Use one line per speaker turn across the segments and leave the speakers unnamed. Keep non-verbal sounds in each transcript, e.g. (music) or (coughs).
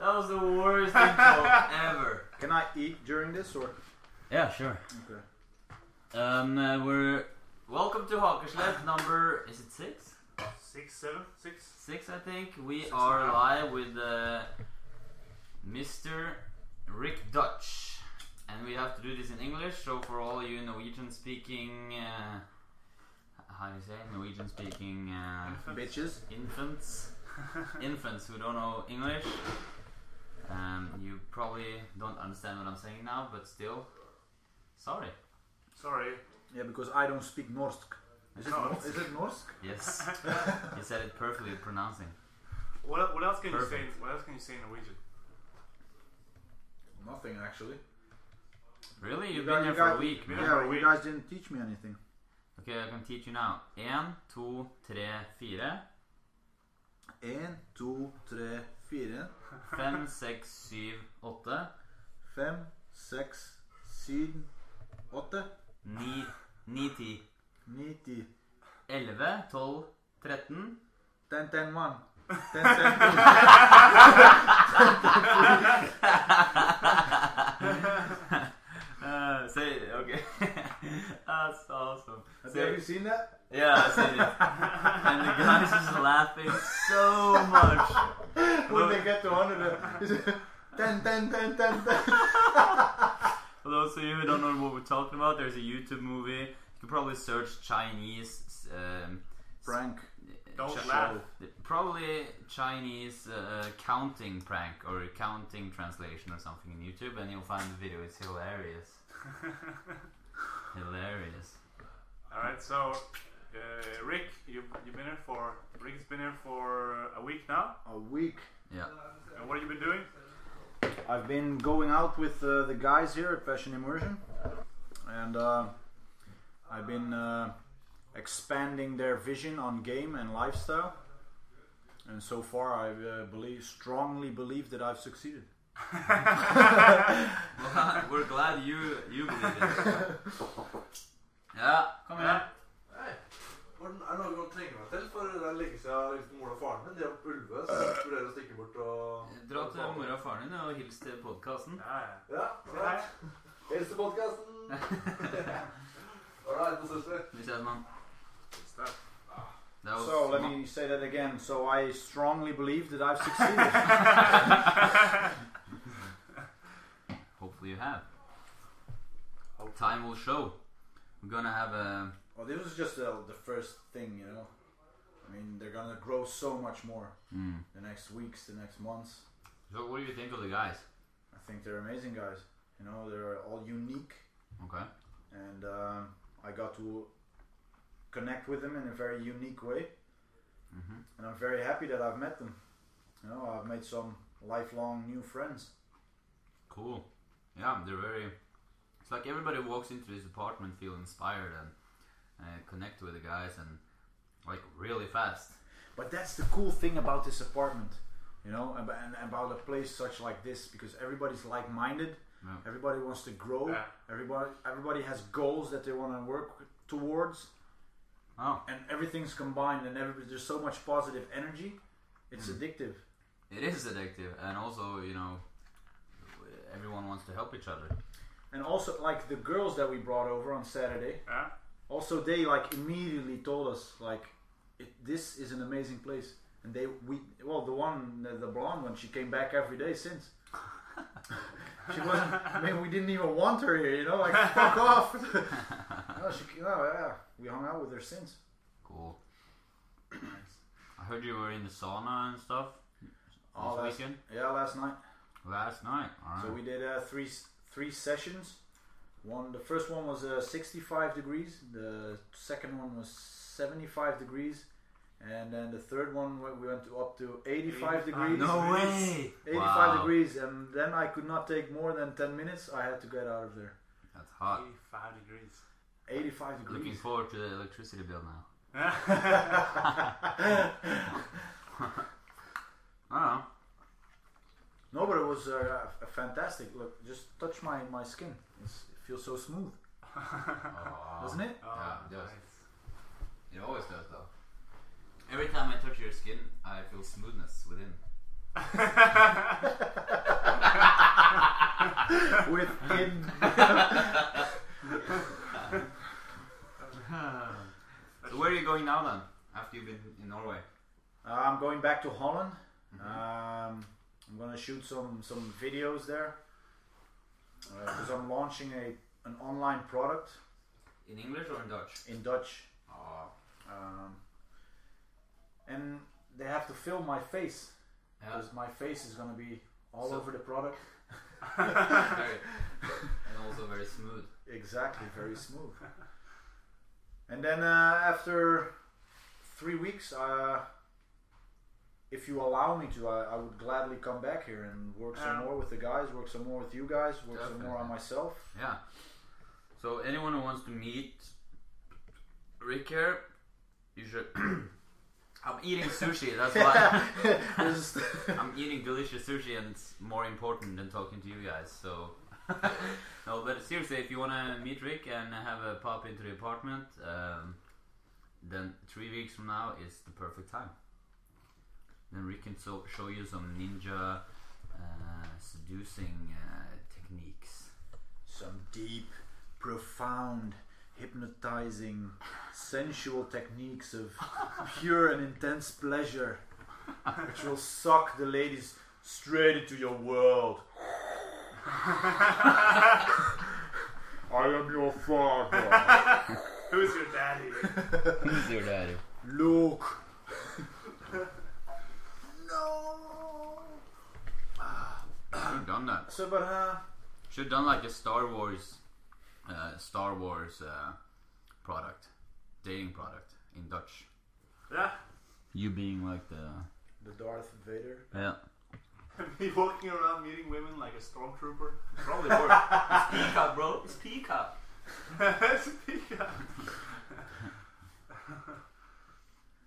was the worst intro ever.
Can I eat during this or?
(laughs) Yeah, sure.
Okay.
Um, uh, we're welcome to Hawkerslev number is it six?
Six, seven, six.
Six, I think. We
Six
are
and a half.
live with uh, Mr. Rick Dutch, and we have to do this in English. So for all you Norwegian-speaking, uh, how do you say Norwegian-speaking uh,
Bitches.
infants, infants who don't know English, um, you probably don't understand what I'm saying now, but still, sorry.
Sorry.
Yeah, because I don't speak Norsk. Is it,
No.
Nor- is it Norsk? (laughs)
Yes, you said it perfectly pronouncing.
What, what else can you say?
Perfect.
In, what else can you say in Norwegian? (laughs)
Nothing actually.
Really? You've
You
been
got-
here
you
for a
got-
week, man.
Yeah, you guys didn't teach me anything.
Okay, I can teach you now. En, to, tre, fire.
En, to, tre, fire, (laughs)
Fem, seks, syv, åtte.
fem, seks, syv, åtte,
Ni, ni, ti.
ni, ti.
Elleve, tolv,
(laughs)
tretten. (laughs)
Ten, ten, one. Ten, ten, two.
Uh, say it, okay. (laughs) That's awesome.
Have
Say
you seen that?
Yeah, I seen it. And the guy's just laughing so much.
When they get to hundred, uh, (laughs) ten, ten, ten, ten, ten.
For those of you who don't know what we're talking about, there's a YouTube movie. You can probably search Chinese. Um,
Prank.
Don't
Chi-
laugh.
Probably Chinese uh, counting prank or counting translation or something in YouTube, and you'll find the video. It's hilarious. hilarious.
All right. So, uh, Rick, you you've been here for Rick's been here for a week now.
A week.
Yeah.
And what have you been doing?
I've been going out with uh, the guys here at Fashion Immersion, and uh, I've been uh, expanding their vision on game and lifestyle. And so far, I uh, believe strongly believe that I've succeeded.
Well, (laughs) we're glad you you believe it. Ja, kom igjen.
Morten, er det noe du kan tenke meg til? For det er lenge siden jeg har hilst på mor liksom og faren min. De er på Ulve, så jeg vurderer å stikke bort og
Dra til mora og faren din og hils til podkasten.
Yeah.
Ja,
Hi.
greit. Hils til podkasten! Ålreit, søster.
Vi ses, mann.
Stuff.
er Det er jo
So let
sma-
me say that again. So I strongly believe that I've succeeded. (laughs)
Hopefully you have.
Hopefully.
Time will show. We're gonna have a
well, this was just uh, the first thing, you know. I mean, they're gonna grow so much more
mm.
the next weeks, the next months.
So what do you think of the guys?
I think they're amazing guys. You know, they're all unique.
Okay.
and um, I got to connect with them in a very unique way.
Mhm.
And I'm very happy that I've met them. You know, I've made some lifelong new friends.
Cool. Yeah, they're very. It's like everybody walks into this apartment, feel inspired and uh, connect with the guys and like really fast.
But that's the cool thing about this apartment, you know, and, and about a place such like this, because everybody's like-minded.
Yeah.
Everybody wants to grow.
Yeah.
Everybody, everybody has goals that they want to work towards,
Oh,
and everything's combined. And everybody, there's so much positive energy. It's addictive.
it is addictive, and also you know, everyone wants to help each other.
And also, like the girls that we brought over on Saturday,
Yeah.
also they like immediately told us like it, this is an amazing place and they we well the one the, the blonde one she came back every day since (laughs) she wasn't i mean we didn't even want her here you know like fuck off (laughs) no, she, no yeah we hung out with her since
(clears throat) Cool. I heard you were in the sauna and stuff
Oh,
this
that's-
weekend
yeah last night
last night. All right.
so we did uh, three s- three sessions one the first one was uh, 65 degrees the second one was 75 degrees and then the third one we- we went to up to
85.
85 degrees
no
Nice.
way.
85
Wow.
degrees, and then I could not take more than 10 minutes. I had to get out of there.
That's hot.
85 degrees. (laughs)
85
Looking
degrees.
(laughs) forward to the electricity bill now. Ah, Oh,
(laughs) No, but it was uh, f- fantastic. Look, just touch my, my skin. It's, it feels so smooth, doesn't it?
Oh,
Yeah, it does.
nice.
(laughs) It always does, though. Every time I touch your skin, I feel smoothness within. Ah.
Within.
so where are you going now then? After you've been in Norway? Uh,
Uh, I'm going back to Holland.
Mm-hmm.
Um, I'm gonna shoot some some videos there because I'm launching a an online product
In English or in Dutch?
in Dutch,
Oh,
um, and they have to film my face
yeah. (laughs)
because my face is gonna be all
So-
over the product.
very, and also very smooth.
(laughs) Exactly, very smooth. and then uh, after three weeks, uh, if you allow me to, I, I would gladly come back here and work some
Yeah.
more with the guys, work some more with you guys, work some more on
Definitely.
myself.
Yeah. So anyone who wants to meet Rick here, you should. (coughs) I'm eating sushi. That's (laughs) why
Just-
I'm eating delicious sushi, and it's more important than talking to you guys. So. (laughs) no, but seriously, if you want to meet Rick and have a pop into the apartment, um, then three weeks from now is the perfect time. Then Rick can so- show you some ninja uh, seducing uh, techniques.
some deep, profound, hypnotizing, sensual techniques of pure and intense pleasure, which will suck the ladies straight into your world. I am your father.
Who's your
(laughs)
daddy?
Who's your daddy?
Look. no.
(coughs) Should've done that.
So, but uh,
Should've done like a Star Wars, uh, Star Wars uh, product, dating product in Dutch.
Yeah,
You being like the
the Darth Vader.
yeah.
(laughs) me walking around meeting women like a stormtrooper. Probably work.
Speak up, bro. Speak up.
Speak up.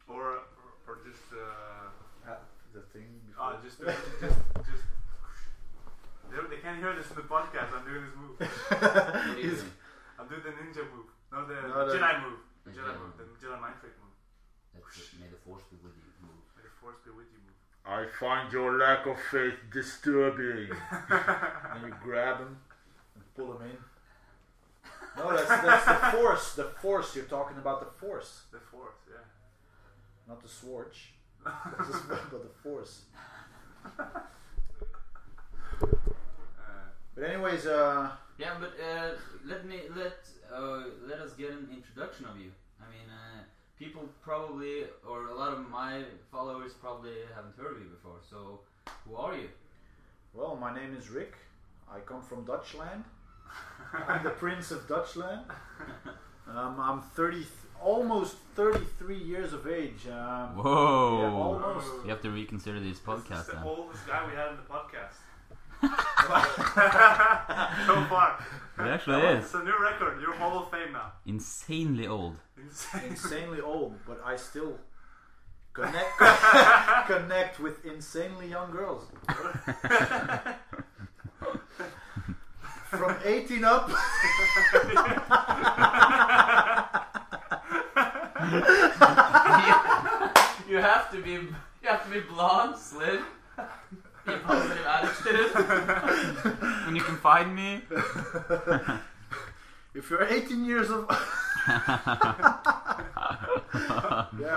or or just uh,
Uh, the thing.
uh (laughs)
before-
just do it, just just. They, they can't hear this in the podcast. I'm doing this move.
What are you
He's-
doing?
I'm doing the ninja move, not the,
No,
the
the-
Jedi move. The
The
Jedi
Jedi
move, the Jedi mind trick move,
That's it. May the force be with you. Move.
the Force be with you (laughs) move.
I find your lack of faith disturbing. and you grab him and pull him in. No, that's, that's the force. The force. You're talking about the force,
The Force, yeah.
not the sworch. That's just- but the force.
Uh,
But anyways, uh,
Yeah, but uh, let me let uh, let us get an introduction of you. I mean, uh, people probably or a lot of my followers probably haven't heard of you before. So, who are you?
well, my name is Rick. I come from Dutchland. I'm the prince of Dutchland. Um, I'm 30, th- almost 33 years of age. Um,
Whoa!
yeah, almost.
You have to reconsider this podcast
This is the
then.
oldest guy we had in the (laughs) podcast. so far.
It actually
That
is.
It's a new record. You're Hall of Fame now. (laughs)
Insanely old.
Insane.
insanely old, but I still connect connect with insanely young girls. From 18 up.
you have to be (laughs) you have to be blonde, slim, (laughs) be positive attitude. (laughs) and you can find me.
If you're 18 years of yeah,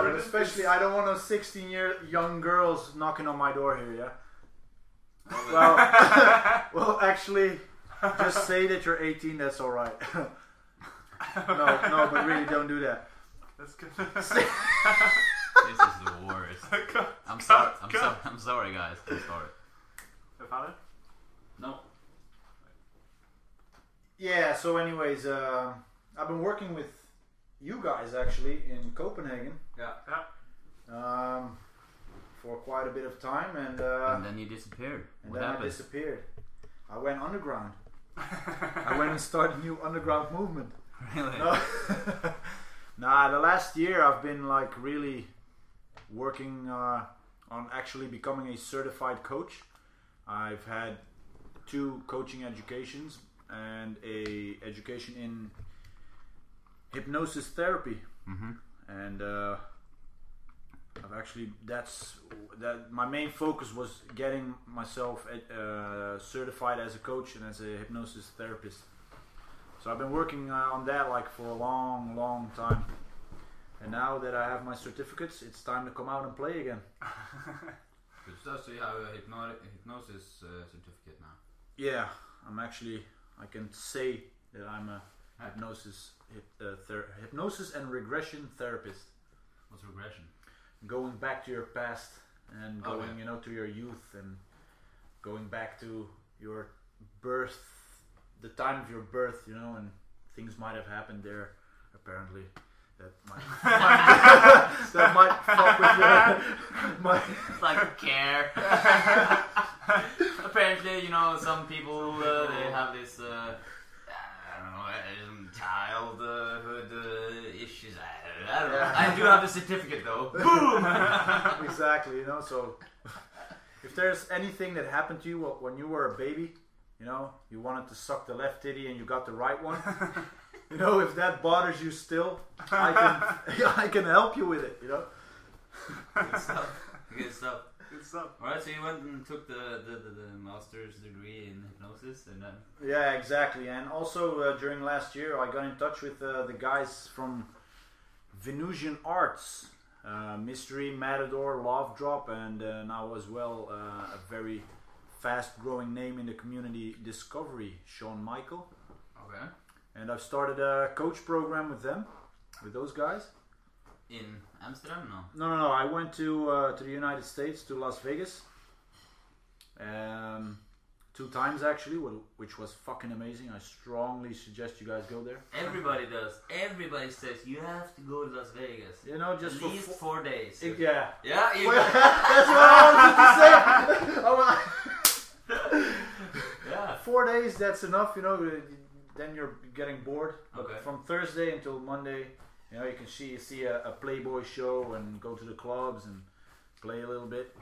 but especially I don't want no 16 year young girls knocking on my door here. Yeah. Well, (laughs) well, actually, just say that you're 18. That's all right. (laughs) no, no, but really, don't do that.
That's (laughs) good.
This is the
(laughs)
worst. I'm sorry. I'm sorry. I'm sorry, guys. I'm sorry.
The father?
No.
Yeah. So, anyways, uh, I've been working with you guys actually in Copenhagen
Yeah.
Yeah.
um, for quite a bit of time, and. Uh,
And then you disappeared.
And
what
then I
happened?
disappeared. I went
(laughs)
underground. I went and started a new underground movement.
(laughs) really?
No. (laughs) nah, the last year I've been like really working uh, on actually becoming a certified coach. I've had two coaching educations and a education in hypnosis therapy.
Mhm.
And uh, I've actually that's that my main focus was getting myself uh, certified as a coach and as a hypnosis therapist. So I've been working uh, on that like for a long, long time. And now that I have my certificates, it's time to come out and play again.
Good stuff. So you have a hypno- (laughs) hypnosis uh, certificate now.
Yeah, I'm actually I can say that I'm a hypnosis hyp, uh, ther- hypnosis and regression therapist.
What's regression?
going back to your past and
Oh,
going
yeah.
you know to your youth and going back to your birth the time of your birth you know and things might have happened there apparently that might that might fuck (laughs) with your my
Like
(laughs)
care. Apparently, you know, some people uh, they have this. Uh, I don't know, uh, um, Childhood uh, issues. I, I don't know.
Yeah.
I do have a certificate
(laughs)
though. Boom!
exactly you know so if there's anything that happened to you wh- when you were a baby you know you wanted to suck the left titty and you got the right (laughs) one you know if that bothers you still i can (laughs) i can help you with it you know
Good stuff. Good stuff.
Good stuff.
Alright, so you went and took the, the, the, the master's degree in hypnosis and then.
Yeah, exactly. And also uh, during last year, I got in touch with uh, the guys from Venusian Arts, uh, Mystery, Matador, Love Drop, and uh, now as well uh, a very fast-growing name in the community, Discovery, Sean Michael.
Okay.
And I've started a coach program with them, with those guys.
In Amsterdam? No.
No, no, no. I went to uh, to the United States to Las Vegas. Um, two times actually, wh- which was fucking amazing. I strongly suggest you guys go there.
Everybody does. Everybody says you have to go to Las Vegas.
You know, just
At
for
least
fo-
four days.
It- yeah.
yeah, you,
Well, that's what I wanted to say. I wa-
(laughs) yeah.
Four days, that's enough. You know, uh, then you're getting bored. But
Okay.
from Thursday until Monday, you know, you can see see a, a Playboy show and go to the clubs and play a little bit.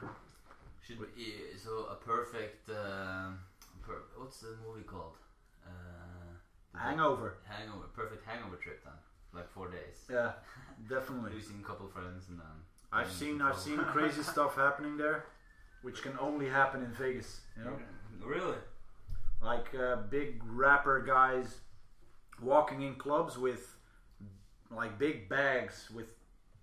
Should be, eh, so a perfect. Uh, per, what's the movie called? Uh, the-
Hangover.
Hangover. Perfect hangover trip then. Like four days.
Yeah, definitely.
Losing a couple friends and then.
I've seen I've seen crazy stuff happening there, which can only happen in Vegas. You know,
Really?
like uh, big rapper guys walking in clubs with like big bags with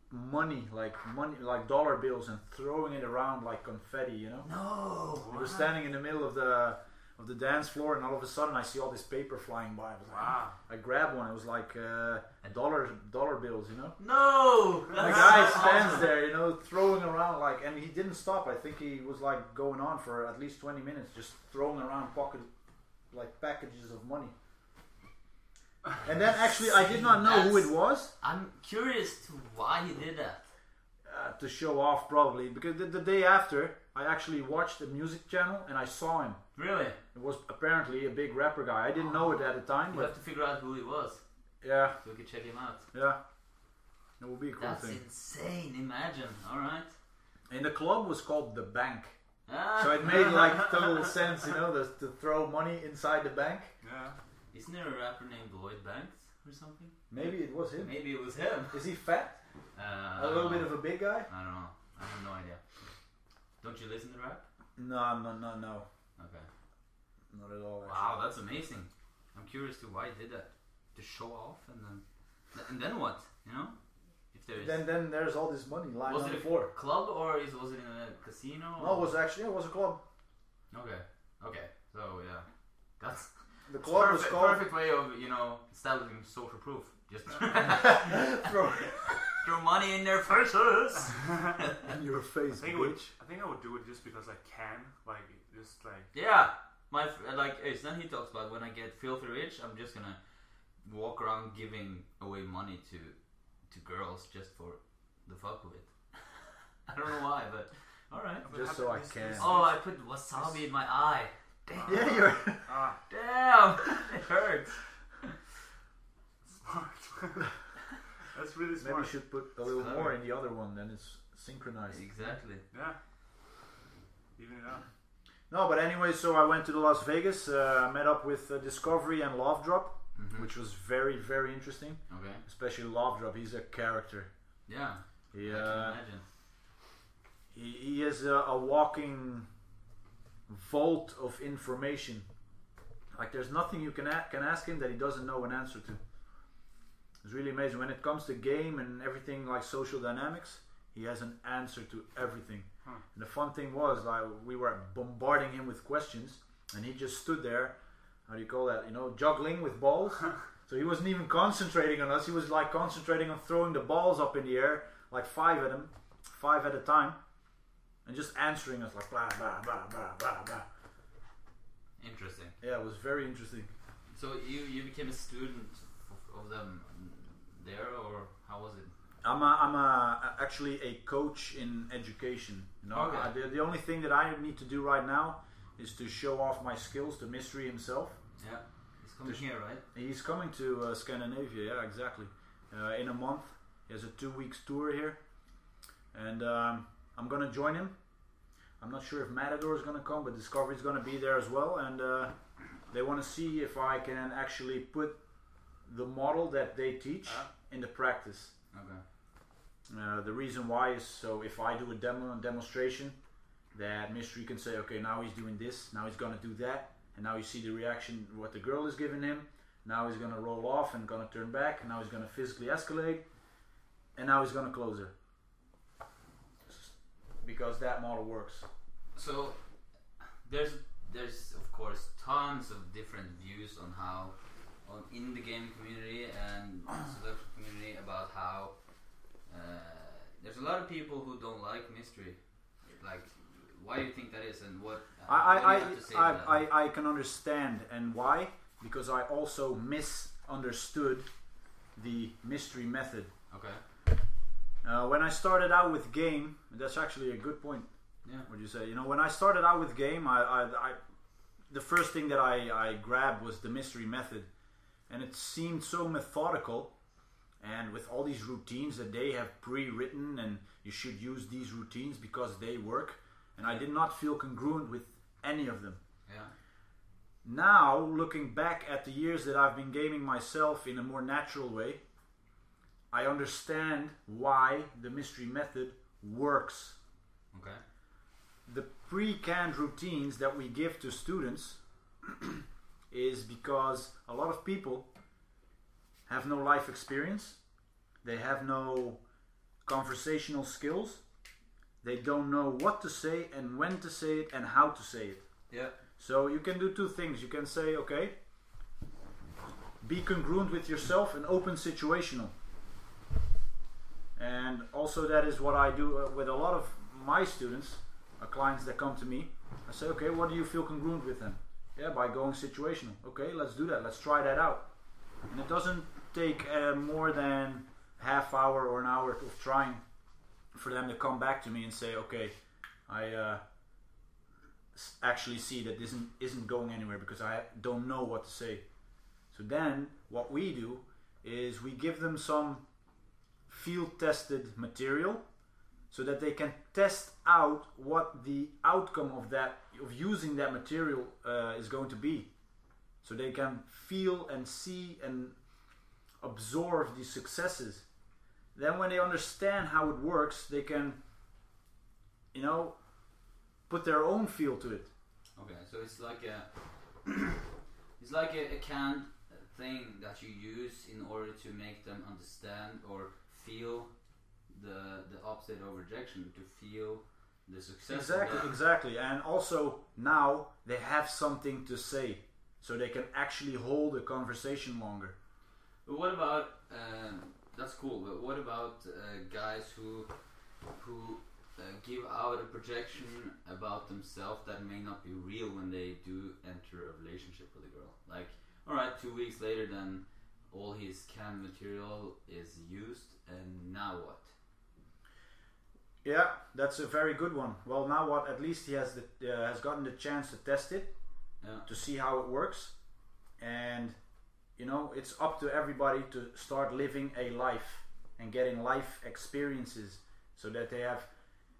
money, like money, like dollar bills, and throwing it around like confetti. You know,
No.
we were standing in the middle of the of the dance floor, and all of a sudden I see all this paper flying by. I was like,
Wow.
I grabbed one. It was like uh, dollar dollar bills. You know.
No.
The
That's
guy
so
stands
awesome.
there, you know, throwing around like, and he didn't stop. I think he was like going on for at least twenty minutes, just throwing around pocket, like packages of money. And then actually, I did not know who it was
I'm curious to why he did that.
uh, to show off, probably because the, the day after, I actually watched the music channel and I saw him.
Really?
It was apparently a big rapper guy. I didn't know it at the time,
You have
but
to figure out who he was
yeah,
so we can check him out.
yeah, it would be a cool
That's
thing.
insane. Imagine. All right.
And the club was called the Bank.
Ah.
So it made like total sense, you know, the, to throw money inside the bank.
Yeah.
(laughs) Isn't there a rapper named Lloyd Banks or something?
Maybe it was him.
Maybe it was him.
Is he fat?
Uh, I
A little
don't
bit
know.
of a big guy?
I don't know. I have no idea. Don't you listen to rap?
No, no, no, no,
Okay.
not at all.
Wow, that's amazing. I'm curious to why he did that. To show off and then and then what? You know, if there
actually.
is
Then, then there's all this money lying
Was
on
it
the
a-
floor.
club or is was it in a casino?
No, it was actually it was a club.
okay. Okay. So yeah, that's
The
It's
club was
perfect,
called.
perfect way of you know establishing social proof.
(laughs)
Just (laughs)
Throw
throw money in their
(laughs)
purses.
in your face,
I think I would.
bitch.
I think I would do it just because I can. Like just like.
yeah, my fr- like it's then he talks about when I get filthy rich, I'm just gonna walk around giving away money to to girls just for the fuck of it. (laughs) I don't know why, but all right.
but
Just
have-
so I
this-
can.
this-
Oh, I put wasabi in my eye. (laughs) Damn,
Yeah, you're.
Ah,
damn, (laughs) it hurts.
smart. (laughs) That's really
Maybe you
smart.
should put a little more in the other one, then it's synchronized.
Exactly.
Yeah. Even it out.
No, but anyway, so I went to the Las Vegas, uh, met up with uh, Discovery and Love Drop,
Mhm.
which was very, very interesting.
Okay.
Especially Love Drop, he's a character. uh,
Yeah. I
Yeah.
can imagine.
He, he is a, a walking vault of information. Like there's nothing you can a- can ask him that he doesn't know an answer to. It's really amazing when it comes to game and everything like social dynamics. He has an answer to everything.
Hmm.
And the fun thing was like we were bombarding him with questions, and he just stood there. How do you call that? You know, juggling with balls. so he wasn't even concentrating on us. He was like concentrating on throwing the balls up in the air, like five at him, five at a time, and just answering us like blah blah blah blah blah blah.
Interesting.
Yeah, it was very interesting.
So you you became a student of- of them there, or how was it?
I'm a, I'm a, actually a coach in education. You know,
Okay.
I- the, the only thing that I need to do right now is to show off my skills to Mystery himself.
Yeah, he's coming
Just-
here, right?
He's coming to uh, Scandinavia, yeah, exactly. Uh, in a month, he has a two weeks tour here, and um, I'm gonna join him. I'm not sure if Matador is gonna come, but Discovery's gonna be there as well, and uh, they want to see if I can actually put the model that they teach
Ah.
into practice.
Okay.
Uh, the reason why is so if I do a demo demonstration, that mystery can say, okay, now he's doing this, now he's gonna do that, and now you see the reaction what the girl is giving him. Now he's gonna roll off and gonna turn back. and Now he's gonna physically escalate, and now he's gonna close her because that model works.
So there's there's of course tons of different views on how on in the game community and selection community about how uh, there's a lot of people who don't like mystery. Like, why do you think that is, and what?
I
what do
I,
you have to say to
I,
that?
I, I, I can understand and why because I also misunderstood the mystery method.
okay.
Uh, when I started out with game, that's actually a good point.
Yeah.
Would you say? You know, when I started out with game, I, I, I the first thing that I, I grabbed was the mystery method, and it seemed so methodical, and with all these routines that they have pre-written, and you should use these routines because they work, and I did not feel congruent with any of them.
Yeah.
Now, looking back at the years that I've been gaming myself in a more natural way, I understand why the mystery method works
Okay.
the pre-canned routines that we give to students (clears throat) is because a lot of people have no life experience they have no conversational skills they don't know what to say and when to say it and how to say it
Yeah.
so you can do two things you can say okay be congruent with yourself and open situational and also that is what i do uh, with a lot of my students uh, clients that come to me i say okay what do you feel congruent with them yeah by going situational okay let's do that let's try that out and it doesn't take uh, more than half hour or an hour of trying for them to come back to me and say okay i uh, s- actually see that this isn't, isn't going anywhere because i don't know what to say so then what we do is we give them some field tested material so that they can test out what the outcome of that of using that material uh, is going to be so they can feel and see and absorb the successes then when they understand how it works they can you know put their own feel to it
Okay, so it's like a (clears throat) it's like a, a canned thing that you use in order to make them understand or feel the the opposite of rejection to feel the success.
Exactly,
Of that.
exactly. And also now they have something to say, so they can actually hold a conversation longer.
But what about um, that's cool? But what about uh, guys who who uh, give out a projection about themselves that may not be real when they do enter a relationship with a girl? Like, all right, two weeks later, then all his canned material is used, and now what?
Yeah, that's a very good one. Well, now what? At least he has the uh, has gotten the chance to test it
Yeah.
to see how it works, and you know it's up to everybody to start living a life and getting life experiences, so that they have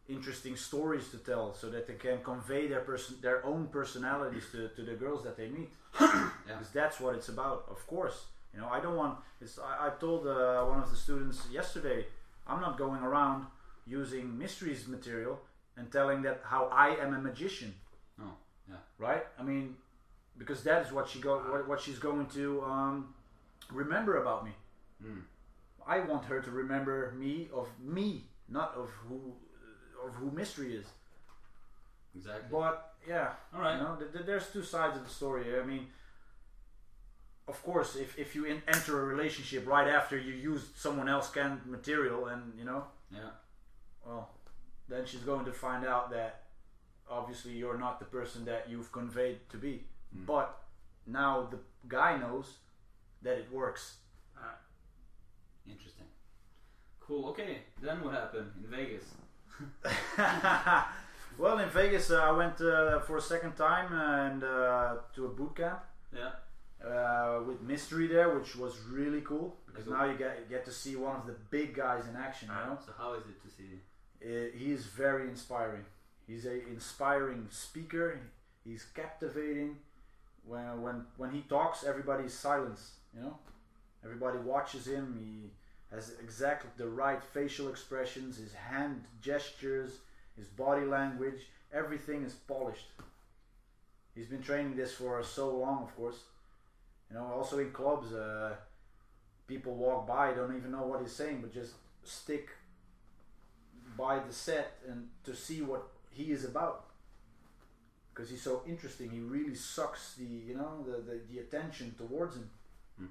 interesting stories to tell, so that they can convey their person their own personalities to, to the girls that they meet.
(coughs)
(coughs)
Yeah.
because that's what it's about of course you know i don't want it's i, I told uh, one of the students yesterday i'm not going around using mysteries material and telling that how I am a magician.
Oh, yeah.
Right? I mean, because that is what she go what, what she's going to um, remember about me.
Mm.
I want her to remember me of me, not of who of who mystery is.
Exactly.
But yeah,
All right.
you know, th- th- there's two sides of the story. I mean, of course, if, if you in- enter a relationship right after you used someone else canned material, and you know,
Yeah.
well, then she's going to find out that obviously you're not the person that you've conveyed to be.
Mm.
But now the guy knows that it works. (laughs)
Uh,
Interesting. Cool. Okay. Then what happened in Vegas?
well, in Vegas, uh, I went uh, for a second time and uh, to a boot camp.
Yeah.
uh, with mystery there, which was really cool because
Cool.
now you get get to see one of the big guys in action. You know,
So how is it to see?
Uh, he is very inspiring. He's a inspiring speaker. He's captivating. When when when he talks, everybody's silence. You know, everybody watches him. He has exactly the right facial expressions, his hand gestures, his body language. Everything is polished. He's been training this for so long, of course. You know, also in clubs, uh, people walk by, don't even know what he's saying, but just stick by the set and to see what he is about. Because he's so interesting, he really sucks the you know the the, the attention towards him.
Hmm.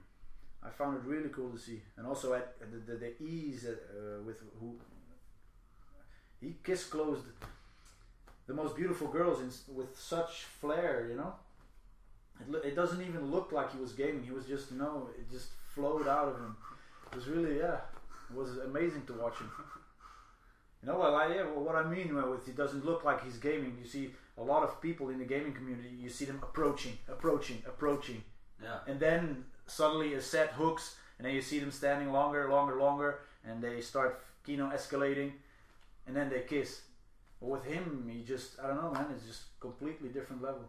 I found it really cool to see, and also at at the the, the ease at, uh, with who he kiss closed the most beautiful girls in, s- with such flair, you know. It, lo- it doesn't even look like he was gaming. He was just no. It just flowed out of him. It was really yeah. It was amazing to watch him. You know, well, I, yeah, well, what I mean with it doesn't look like he's gaming. You see a lot of people in the gaming community. You see them approaching, approaching, approaching,
Yeah.
and then suddenly a set hooks, and then you see them standing longer, longer, longer, and they start kino escalating, and then they kiss. But with him, he just I don't know, man. It's just completely different level,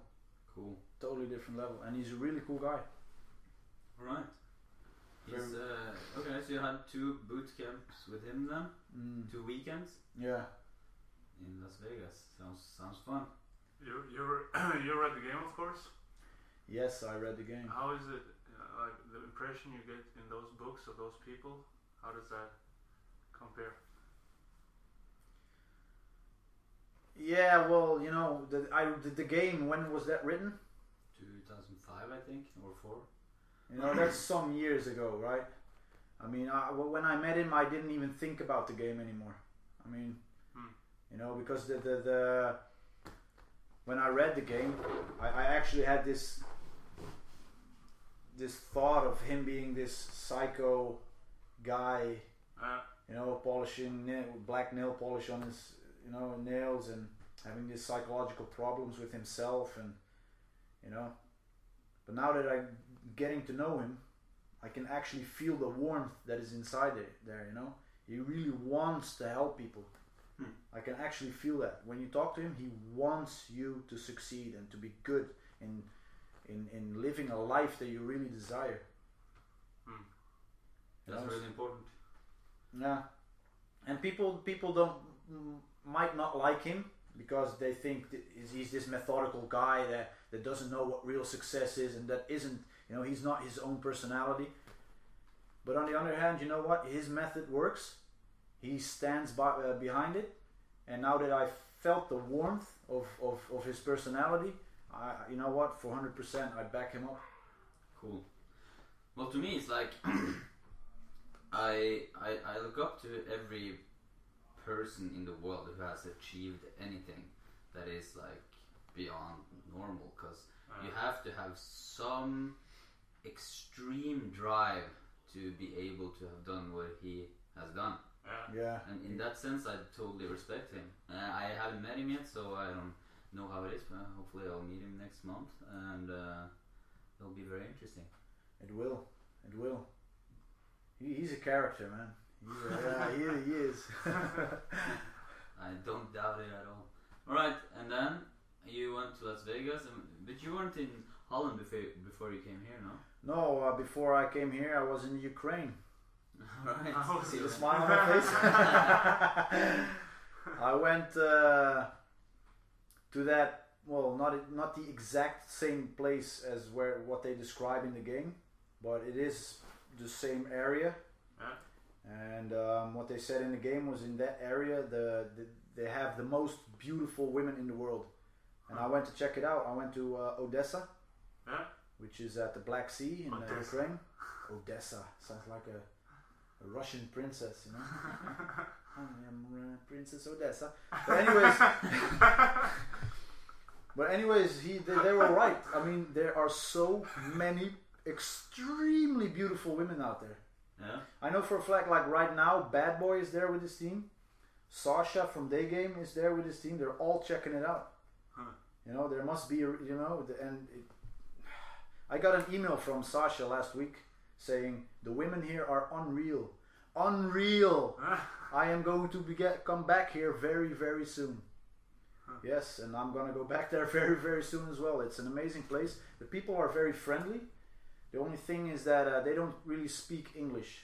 Cool.
totally different level, and he's a really cool guy.
All right. He's, uh, okay, so you had two boot camps with him then,
Mm,
two weekends
yeah.
in Las Vegas. Sounds sounds fun.
you you were- (coughs) you read the game, of course.
Yes, I read the game.
How is it? Uh, like the impression you get in those books of those people. How does that compare?
Yeah, well, you know, the I the, the game when was that written?
2005, I think, or four.
You know, that's some years ago, right? I mean, I, well, when I met him, I didn't even think about the game anymore. I mean,
Hmm.
you know, because the, the the when I read the game, I, I actually had this this thought of him being this psycho guy
Uh,
you know, polishing nail, black nail polish on his, you know, nails and having these psychological problems with himself and, you know, but now that I'm getting to know him, I can actually feel the warmth that is inside it, there, you know, he really wants to help people.
Hmm.
I can actually feel that when you talk to him, he wants you to succeed and to be good in, in, in living a life that you really desire.
Hmm.
You
That's
know,
really important.
yeah, and people people don't m- might not like him because they think th- he's this methodical guy that that doesn't know what real success is and that isn't you know he's not his own personality. But on the other hand, you know what? His method works. He stands by, uh, behind it, and now that I felt the warmth of, of, of his personality, I you know what? For hundred percent, I back him up.
Cool. Well, to me, it's like (clears throat) I, I I look up to every person in the world who has achieved anything that is like beyond normal because you
uh,
have to have some extreme drive to be able to have done what he has done.
yeah. (laughs)
Yeah,
And in that sense, I totally respect him. Uh, I haven't met him yet, so I don't know how it is, but hopefully I'll meet him next month and uh, it'll be very interesting.
It will. It will. He, he's a character, man. He's a,
(laughs)
yeah, he, he is.
I don't doubt it at all. Alright, and then you went to Las Vegas, and, but you weren't in Holland before, before you came here, no? (laughs)
no, uh, before I came here, I was in Ukraine.
Alright.
I was
see
See
you
the
then.
smile on my face? (laughs) I went uh, to that. Well, not not the exact same place as where what they describe in the game, but it is the same area.
Yeah.
And um, what they said in the game was in that area, the, the they have the most beautiful women in the world. And I went to check it out. I went to uh, Odessa,
Yeah.
which is at the Black Sea in uh,
Odessa.
Ukraine. Odessa sounds like a, a Russian princess, you know. I am uh, Princess Odessa. But anyways, (laughs) but anyways, he they, they were right. I mean, there are so many extremely beautiful women out there.
(laughs)
Yeah.
I know for a fact, like right now, Bad Boy is there with his team. Sasha from Day Game is there with his team. They're all checking it out.
Huh.
You know, there must be, a, you know, the- and it, I got an email from Sasha last week saying the women here are unreal, unreal. I am going to be get, come back here very, very soon. Yes, and I'm going to go back there (laughs) very, very soon as well. It's an amazing place. The people are very friendly. The only thing is that uh, they don't really speak English.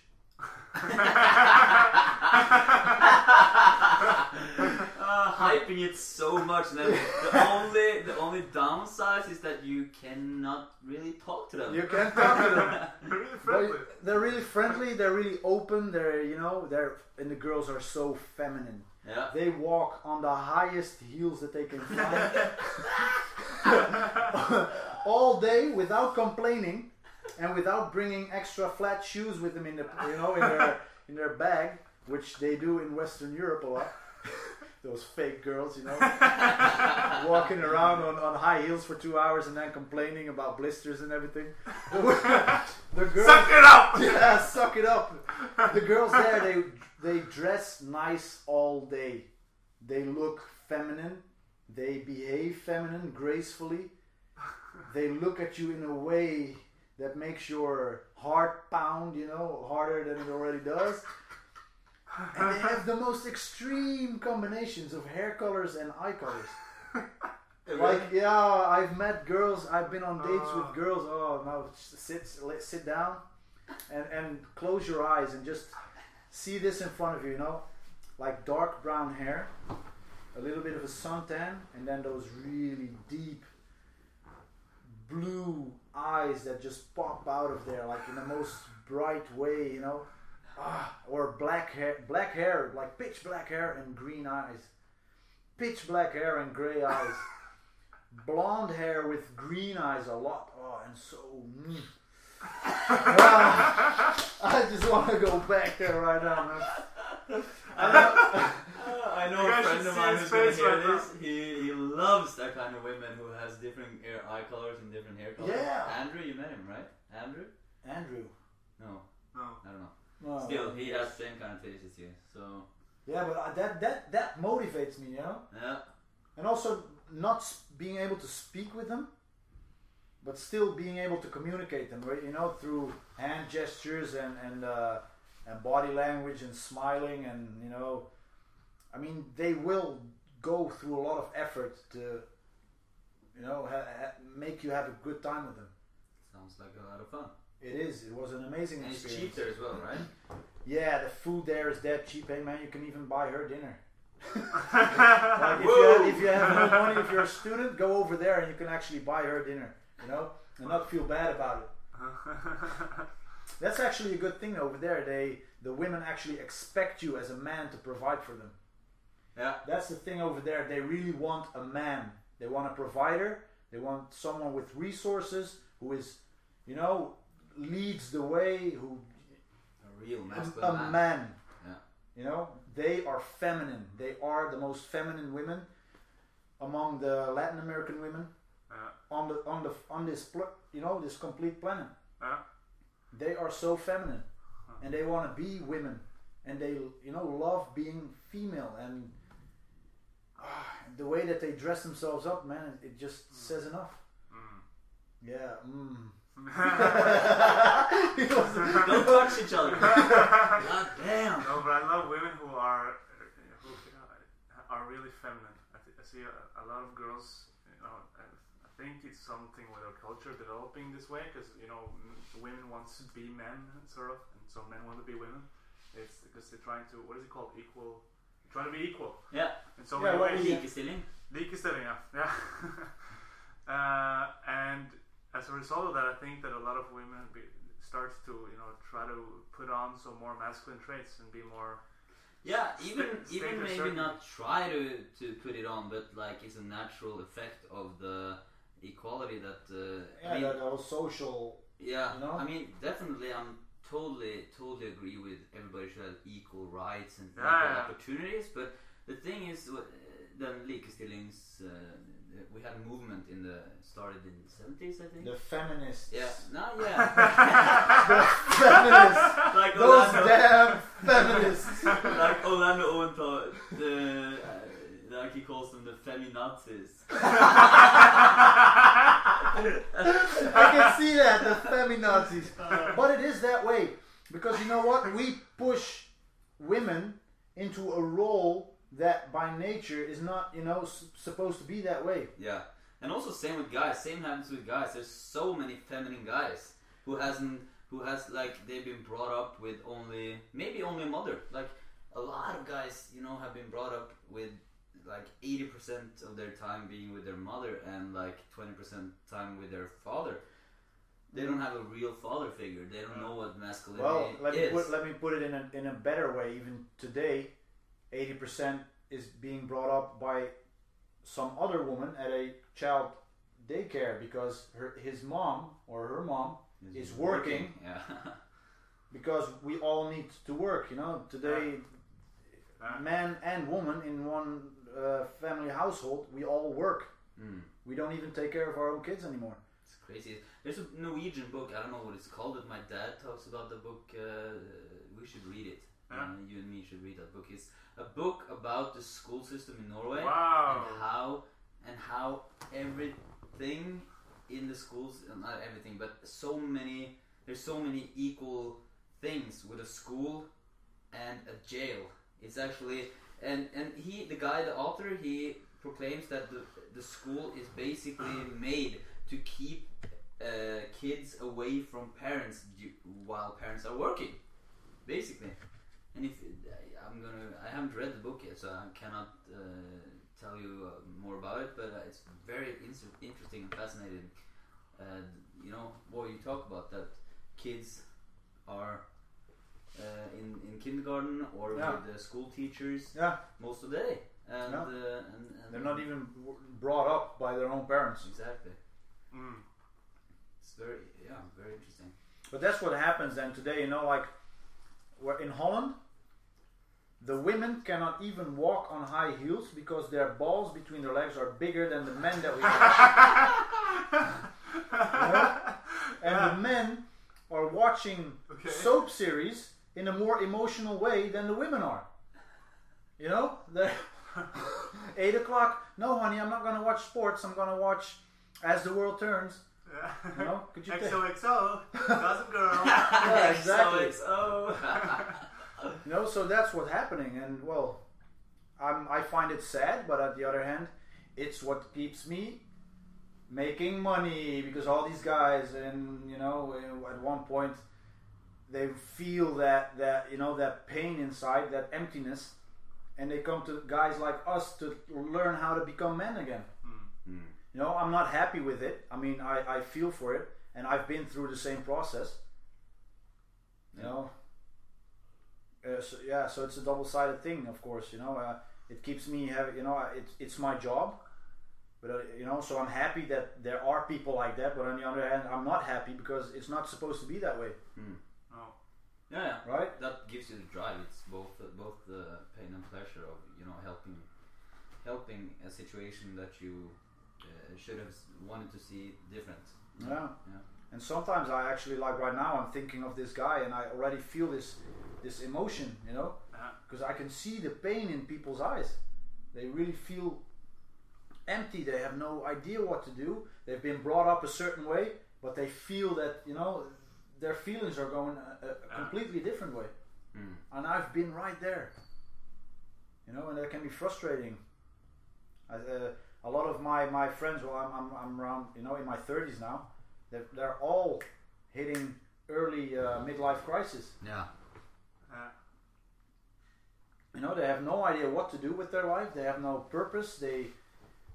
Uh, hyping it so much that the only the only downside is that you cannot really talk to them.
You can talk to them.
really friendly.
(laughs) But they're really friendly. They're really open. They're you know they're and the girls are so feminine.
yeah.
They walk on the highest heels that they can find (laughs) all day without complaining and without bringing extra flat shoes with them in the you know in their in their bag, which they do in Western Europe a lot. (laughs) Those fake girls, you know, walking around on, on high heels for two hours and then complaining about blisters and everything. (laughs) The, the girls,
Suck it up!
(laughs) yeah, suck it up. (laughs) The girls there, they they dress nice all day. They look feminine. They behave feminine, gracefully. They look at you in a way that makes your heart pound, you know, harder than it already does. And they have the most extreme combinations of hair colors and eye colors. Like yeah, I've met girls. I've been on dates with girls. Oh no, sit sit down, and and close your eyes and just see this in front of you. You know, like dark brown hair, a little bit of a suntan, and then those really deep blue eyes that just pop out of there, like in the most bright way. You know, ah, or black hair, black hair, like pitch black hair and green eyes, pitch black hair and gray eyes blonde hair with green eyes a lot. Oh, and so. Mm. Ah, I just want to go back there right now, man.
I know, Uh, I know
You
a
guys
friend
should
of
see
mine
his
who's gonna
face
hear
right
this. He, he loves that kind of women who has different hair, eye colors and different hair colors.
Yeah.
Andrew, you met him, right? Andrew?
Andrew.
No,
No. (laughs)
(laughs)
I don't know.
Oh.
Still, he has same kind of taste as you. So,
Yeah, but uh, that that that motivates me, you know.
yeah.
And also not s- being able to speak with them, but still being able to communicate them, right? You know, through hand gestures and and uh, and body language and smiling and you know, I mean, they will go through a lot of effort to, you know, ha- ha- make you have a good time with them.
Sounds like a lot of fun.
It is. It was an amazing
And it's
experience.
cheap there as well, right?
Yeah, the food there is that cheap. Hey man, you can even buy her dinner.
Uh,
Like, if, you have, if you have no money, if you're a student, go over there and you can actually buy her dinner. You know, and not feel bad about it. That's actually a good thing over there. They the women actually expect you as a man to provide for them.
Yeah.
That's the thing over there. They really want a man. They want a provider. They want someone with resources who is, you know, leads the way. Who
A real masculine
a
man.
man.
Yeah.
You know, they are feminine. They are the most feminine women among the Latin American women
Yeah.
on the on the on this pl- you know this complete planet.
Yeah.
They are so feminine, and they want to be women, and they you know love being female and. ah, The way that they dress themselves up, man, it just
Hmm.
says enough.
mm.
Yeah.
(laughs)
Mm. (laughs) He was-
Don't touch each other. God damn.
No, but I love women who are who are really feminine. I, th- I see a, a lot of girls. You know, I, I think it's something with our culture developing this way because you know m- women want to be men sort of, and so men want to be women. It's because they're trying to what is it called equal try to be equal.
Yeah.
In so
Yeah,
many
what
ways.
we-
Likestilling.
Likestilling, yeah. (laughs) yeah. uh, and as a result of that, I think that a lot of women be, starts to, you know, try to put on some more masculine traits and be more.
Yeah,
Sta-
even
state
even
of
maybe
certain-
not try to to put it on, but like it's a natural effect of the equality that. Uh,
Yeah,
I mean,
that whole social.
yeah.
you know?
I mean, definitely, I'm totally totally agree with everybody should have equal rights and
Yeah,
equal
yeah.
opportunities. But the thing is, wh- uh, then Likestillings, uh, we had a movement in the started in the seventies, I think.
The feminists. (laughs)
Yeah, no, yeah.
feminists.
like
Those
Orlando-
damn feminists.
like Orlando Owen thought the uh, like he calls them the feminazis.
I can see that the (laughs) feminazis. But it is that way because you know what? We push women into a role that by nature is not, you know, s- supposed to be that way.
Yeah, and also same with guys. Same happens with guys. There's so many feminine guys who hasn't who has like they've been brought up with only maybe only a mother. Like a lot of guys, you know, have been brought up with like 80% of their time being with their mother and like 20% time with their father. They don't have a real father figure. They don't know what masculinity
Well, let me
is.
put, let me put it in a, in a better way. Even today, eighty percent is being brought up by some other woman at a child daycare because her his mom or her mom is working
Yeah. (laughs)
because we all need to work. You know, today,
Yeah.
man and woman in one uh, family household, we all work.
mm.
We don't even take care of our own kids anymore.
It's crazy. There's a Norwegian book. I don't know what it's called. That my dad talks about the book. Uh, we should read it.
Yeah.
Uh, you and me should read that book. It's a book about the school system in Norway (laughs)
wow.
and how and how everything in the schools uh, not everything but so many there's so many equal things with a school and a jail it's actually and and he the guy the author he proclaims that the, the school is basically made to keep uh, kids away from parents du- while parents are working basically and if uh, I'm gonna, I haven't read the book yet, so I cannot uh, tell you uh, more about it. But uh, it's very inter- interesting and fascinating. Uh, you know what you talk about that kids are uh, in in kindergarten or
Yeah.
with the school teachers
Yeah,
most of the day, and,
Yeah.
uh, and, and
they're not even w- brought up by their own parents.
exactly.
Mm.
It's very yeah, very interesting.
But that's what happens then today, you know, like where in Holland, the women cannot even walk on high heels because their balls between their legs are bigger than the men that we
(laughs)
have. You know? And the men are watching
(laughs) Okay.
soap series in a more emotional way than the women are. You know? They're (laughs) eight o'clock. No, honey, I'm not going to watch sports. I'm going to watch As the World Turns.
Yeah.
You know? Could
(laughs)
you take-
XOXO, doesn't girl.
(laughs)
Yeah, exactly.
oh. XOXO.
You know, so that's what's happening, and well, I'm, I find it sad, but at the other hand, it's what keeps me making money because all these guys, and you know, at one point, they feel that that you know that pain inside, that emptiness, and they come to guys like us to learn how to become men again.
Mm.
You know, I'm not happy with it. I mean, I, I feel for it, and I've been through the same process. You know, uh, so, yeah. So it's a double-sided thing, of course. You know, uh, it keeps me having. You know, I- it's it's my job, but uh, you know, so I'm happy that there are people like that. But on the other hand, I'm not happy because it's not supposed to be that way,
Oh.
Yeah, yeah.
right?
that gives you the drive. It's both both the pain and pleasure of you know helping helping a situation that you uh, should have s- wanted to see different.
Yeah.
Yeah.
And sometimes I actually like right now I'm thinking of this guy and I already feel this this emotion, you know,
Uh-huh.
because I can see the pain in people's eyes. They really feel empty. They have no idea what to do. They've been brought up a certain way, but they feel that you know their feelings are going a, a- a
Uh-huh.
completely different way.
Mm.
And I've been right there, you know, and that can be frustrating. I, uh, a lot of my, my friends, well, I'm, I'm, I'm around, you know, in my 30s now, they're, they're all hitting early uh, midlife crisis.
Yeah.
Yeah.
You know, they have no idea what to do with their life. They have no purpose. They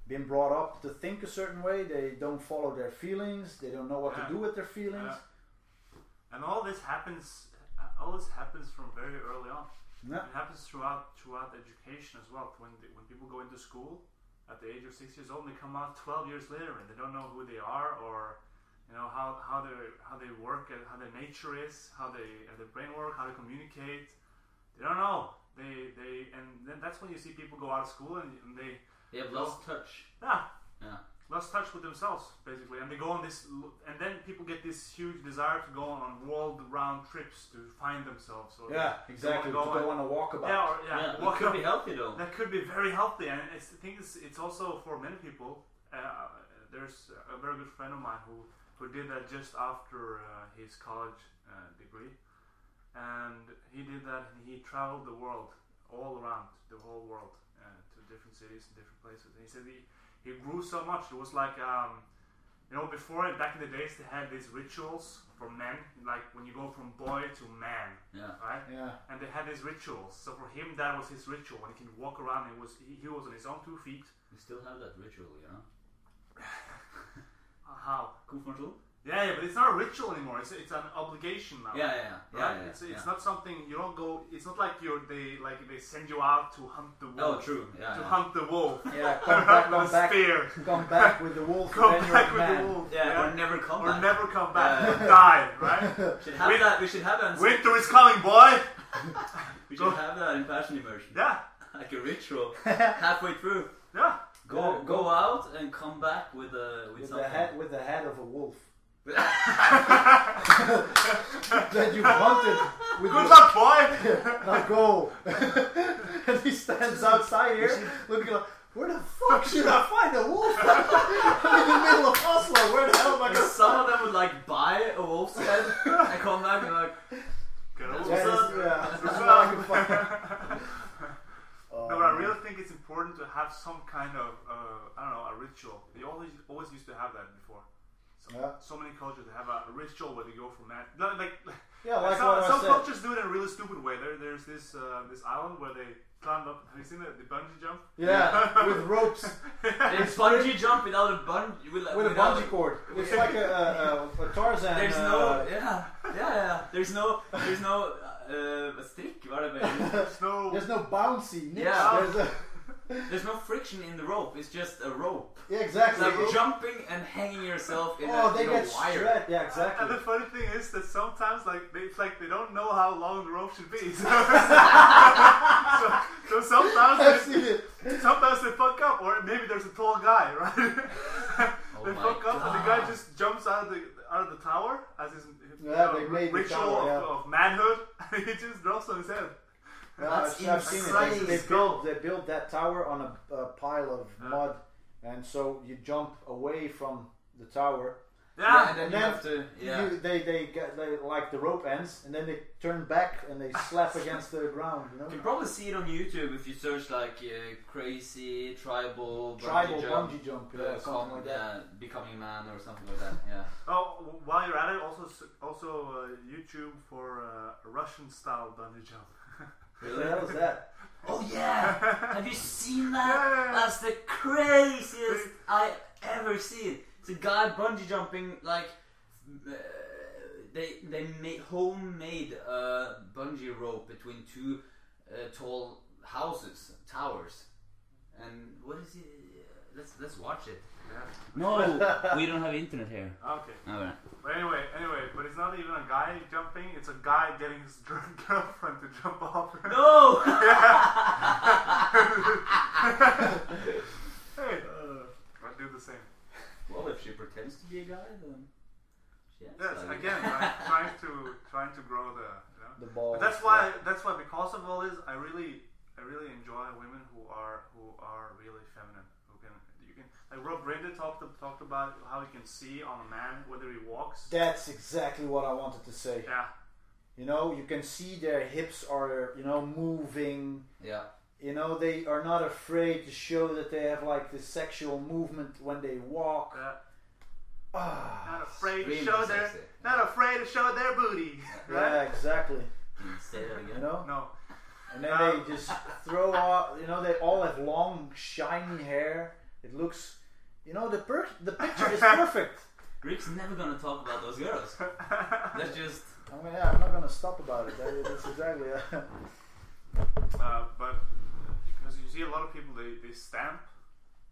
been brought up to think a certain way. They don't follow their feelings. They don't know what
Yeah.
to do with their feelings.
Yeah. And all this happens, all this happens from very early on.
No.
It happens throughout throughout education as well. When the, when people go into school at the age of six years old, and they come out twelve years later, and they don't know who they are or you know how how they how they work and how their nature is, how they how their brain work, how they communicate. They don't know. They they and then that's when you see people go out of school and, and they
They have lost touch.
ah
Yeah.
lost touch with themselves basically and they go on this l- and then people get this huge desire to go on world round trips to find themselves or
Yeah, exactly.
go
They don't
on-
want to walk about.
yeah, or, yeah,
Yeah, it
walk
could
up-
be healthy though.
that could be very healthy and it's, the thing is it's also for many people uh, there's a very good friend of mine who, who did that just after uh, his college uh, degree and he did that and he traveled the world all around the whole world uh, to different cities and different places and he said he, he grew so much it was like um, you know before back in the days they had these rituals for men like when you go from boy to man
Yeah.
right
Yeah.
and they had these rituals. So for him, that was his ritual. When he can walk around, he was he, he was on his own two feet.
We still have that ritual, you know.
Uh, How?
Kufmartul?
Yeah, yeah, but it's not a ritual anymore. It's it's an obligation now.
Yeah, yeah, yeah.
Right?
yeah, yeah,
it's it's
yeah.
not something you don't go. It's not like you're they like they send you out to hunt the wolf.
Oh, true. Yeah.
To
yeah.
hunt the wolf.
Yeah, come back,
Come (laughs)
come
back,
back,
spear.
come
(laughs)
back with the wolf,
Come
and then
back
you're a
with
man.
the wolf.
Yeah, or never come
Or
back.
never come back.
Yeah.
Die, right?
We should have
Wait.
that. We should have that. in-
Winter is coming, boy.
we
Go.
should have that in passion immersion,
Yeah,
like a ritual.
(laughs)
Halfway through,
yeah.
go
Yeah,
go out and come back with a with,
With the
something.
head, with the head of a
(laughs)
wolf
Good
that you hunted with your
luck, boy.
now (laughs) go. and he stands outside here, looking like, where the fuck should I find a wolf? (laughs) I'm in the middle of Oslo. Where the hell am I
Like
going?
some of them would like buy a wolf's
(laughs)
head and come back and like
Good
That's
old
what
Yeah,
What's
son.
up?
What's
it's- yeah, that's what I can find.
(laughs)
Oh,
No, but I really think it's important to have some kind of uh, I don't know a ritual. They always always used to have that before. So,
Yeah.
so many cultures they have a ritual where they go from man. no, Like,
Yeah, like
some,
what I
some
said.
cultures do it in a really stupid way. There, there's this uh, this island where they climb up. Have you seen the, the bungee jump? (laughs)
Yeah, with ropes, (laughs)
it's bungee jump without a bun with,
with a
without-
bungee cord. It's like a, a, a, a Tarzan.
There's
uh,
no yeah yeah yeah. There's no there's no uh, uh, stick. What about
(laughs)
There's no.
There's no bouncy. Nips.
Yeah.
There's a,
There's no friction in the rope. It's just a rope.
yeah,
It's
exactly.
like jumping and hanging yourself in
oh,
a,
they
in a
get
wire.
stretched. Yeah,
And
(laughs)
exactly. (laughs)
the funny thing is that sometimes, like, they, it's like they don't know how long the rope should be. (laughs) So, so, so
I've
sometimes,
seen it.
they, sometimes they fuck up, or maybe there's a tall guy, right? (laughs)
Oh
they
my
fuck up, and the guy
God.
just jumps out of the out of the tower as his uh,
Yeah, they made the
ritual
tower,
of,
yeah.
of manhood, (laughs) and he just drops on his head.
Yeah,
That's
I've, I've seen it.
insane.
They, they built they built that tower on a, a pile of
Yeah.
mud, and so you jump away from the tower.
Yeah,
Yeah,
and then
And
you
then
have to yeah.
You, they they get they, like the rope ends, and then they turn back and they slap against the ground. You know,
You (laughs) can probably see it on YouTube if you search like uh, crazy tribal bungee
tribal
jump,
bungee jump,
uh,
yeah,
com-
something like that.
uh, becoming man or something like that. Yeah.
Oh, w- while you're at it, also s- also uh, YouTube for uh, Russian style bungee (laughs) jump.
What the hell is that?
Oh (laughs) yeah! Have you seen that?
Yeah.
That's the craziest I ever seen. It's a guy bungee jumping like uh, they they made homemade uh, bungee rope between two uh, tall houses towers. And what is it? Let's let's watch it.
Yeah.
No, (laughs) we don't have internet here.
Okay. But anyway, anyway, but it's not even a guy jumping, it's a guy getting his (laughs) drunk girlfriend to jump off. (laughs)
No.
hey,
Uh.
I do the same.
well, if she pretends to be a guy, then she acts
Yes,
like it. (laughs)
again, like, trying to trying to grow the. You know?
The ball.
But that's why that's why because of all this, I really I really enjoy women who are who are really feminine. Who can you can like Rob Brenda talked talked about how he can see on a man whether he walks.
That's exactly what I wanted to say.
Yeah,
You know, you can see their hips are you know moving.
yeah.
You know, they are not afraid to show that they have like this sexual movement when they walk.
uh,
Ah,
not afraid to
Really
show their
sexy.
not afraid to show their booty. (laughs)
yeah, exactly.
Can you say that
You
again?
know,
No,
and then they just throw out. You know, they all have long, shiny hair. It looks, you know, the per- the picture (laughs) is perfect.
Rick's never gonna talk about those girls. That's just
I mean, yeah, I'm not gonna stop about it. That, that's exactly. (laughs)
Uh, but because you see a lot of people, they, they stamp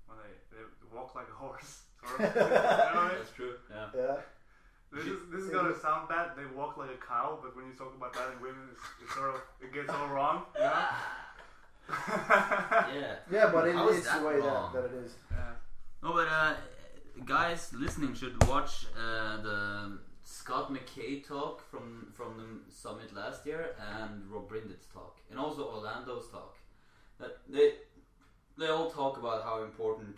when they, they walk like a horse. (laughs) Sort of. You
(laughs)
know what I mean?
That's true.
(laughs)
yeah.
yeah.
This is, this is gonna sound bad. They walk like a cow, but when you talk about that in women, it's, it's sort of it gets all wrong. You know?
Yeah.
Yeah, but it,
How is
it's
that
the way that,
wrong?
that it (laughs) is.
Yeah.
No, but uh, guys listening should watch uh, the Scott McKay talk from from the summit last year and Rob Brindett's talk and also Orlando's talk. That they they all talk about how important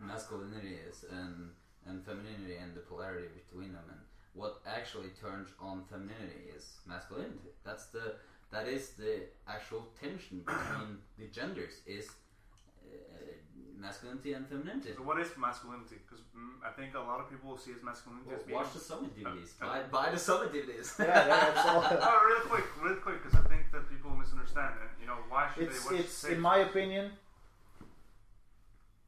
masculinity is and and femininity and the polarity between them and what actually turns on femininity is masculinity. That's the that is the actual tension between the genders is uh, masculinity and femininity.
So what is masculinity? Because mm, I think a lot of people see as masculinity as being.
Watch the summit DVDs. Buy, buy the summit (laughs)
(laughs)
DVDs.
Yeah, yeah that's all.
Oh, real quick, real quick, because I think that people misunderstand. And you know why should
It's
they? Watch
it's
sex?
in my opinion,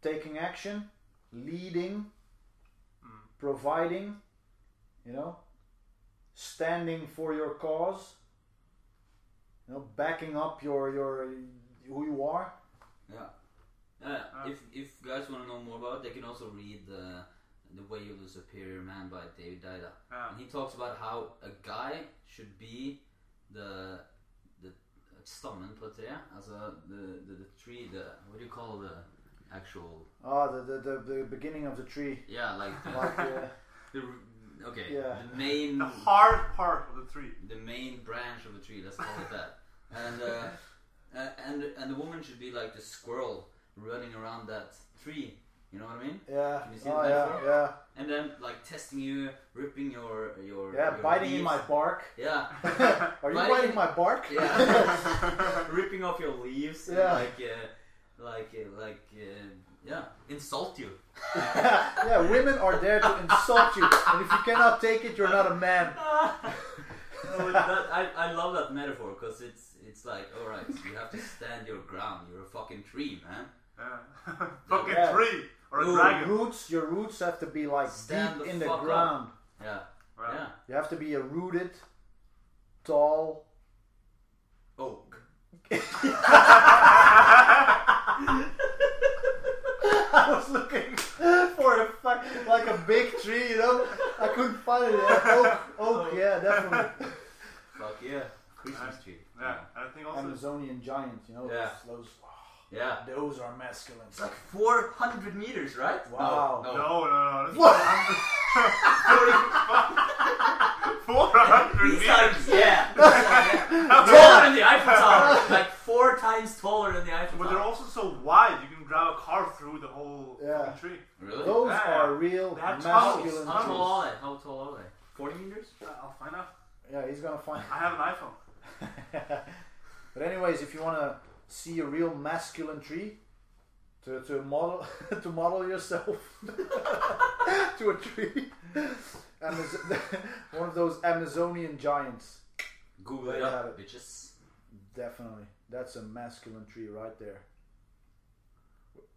taking action, leading,
Mm.
providing, you know, standing for your cause, you know, backing up your your who you are.
yeah. Uh, if if you guys want to know more about it, they can also read the the Way of the Superior Man by David Dida.
Yeah.
And Um, he talks about how a guy should be the the stammen på tre, altså the, the the tree, the what do you call the actual
Ah, the the, the, the beginning of the tree.
yeah like
(laughs)
the, (laughs)
Like, uh,
the okay
Yeah.
the main
the hard part of the tree.
the main branch of a tree. Let's call it that. And uh, uh, and and the woman should be like the squirrel running around that tree. You know what I mean?
yeah,
Can you see
oh,
the
yeah,
metaphor?
yeah,
And then like testing you, ripping your your
yeah,
your
biting in
leaves.
my bark.
yeah
Are you
Biting-
biting, my bark?
(laughs) yeah ripping off your leaves and
Yeah.
like uh, like uh, like uh, yeah insult (laughs) you.
yeah, women are there to insult you, and if you cannot take it, you're not a man.
No, but that- I, I love that metaphor because it's it's like all right you have to stand your ground. You're a fucking tree, man.
Yeah. (laughs) Fucking
Yeah.
tree or a
Ooh,
Your
dragon.
roots, your roots have to be like
Stand
deep
the
in the
fuck up.
ground.
Yeah,
Well,
yeah.
You have to be a rooted, tall. (laughs)
Oak.
I was looking for a fuck like a big tree, you know. I couldn't find it.
(laughs)
Oak,
Oh,
oak, yeah, definitely.
Fuck yeah. Christmas tree.
Yeah, and I think also
Amazonian giant, you know.
Yeah.
Those,
Yeah.
those are masculine.
It's like 400 meters, right?
Wow.
No,
no,
no.
no, no. That's
What?
Four hundred (laughs)
He's like,
meters.
yeah. taller than the Eiffel Tower. Like four times taller than the Eiffel
But they're
Tower.
also so wide, you can drive a car through the whole
Yeah.
fucking tree.
Really?
Those
Yeah.
are real
They have
masculine
How tall are
trees.
they? How tall are they? 40 meters?
Uh, I'll find out.
Yeah, he's gonna find.
I have an iPhone.
(laughs) but anyways, if you wanna see a real masculine tree, to, to model (laughs) to model yourself (laughs) to a tree, Amaz- (laughs) one of those Amazonian giants.
Google
They
it up,
have
bitches.
Definitely, that's a masculine tree right there.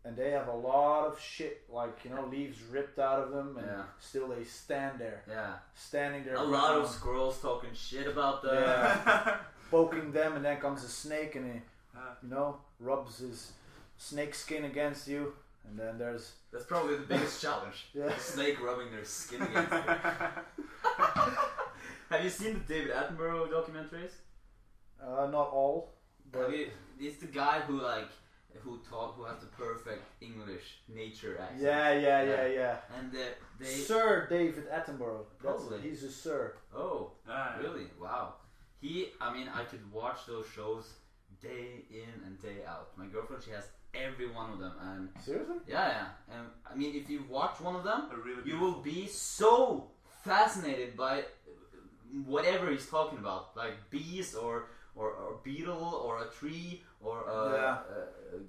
And they have a lot of shit, like you know, leaves ripped out of them, and
Yeah.
still they stand there,
Yeah.
standing there.
A lot of
ground.
squirrels talking shit about the.
Yeah. (laughs) poking them, and then comes a snake, and he,
Uh.
you know, rubs his snake skin against you, and then there's
That's probably the
(laughs)
biggest challenge.
Yeah.
The snake rubbing their skin against you.
(laughs)
Have you seen the David Attenborough documentaries?
uh, not all,
I
but
mean, it's the guy who like who talk who has the perfect English nature accent.
yeah, yeah, yeah, yeah.
And they, they
Sir David Attenborough. That's
Probably.
it. He's a sir.
oh
Yeah.
really wow. He I mean I could watch those shows day in and day out. My girlfriend she has every one of them and
Seriously?
yeah yeah and I mean if you watch one of them
They're really
you
beautiful.
will be so fascinated by whatever he's talking about, like bees or or, or beetle or a tree or a,
Yeah.
a, a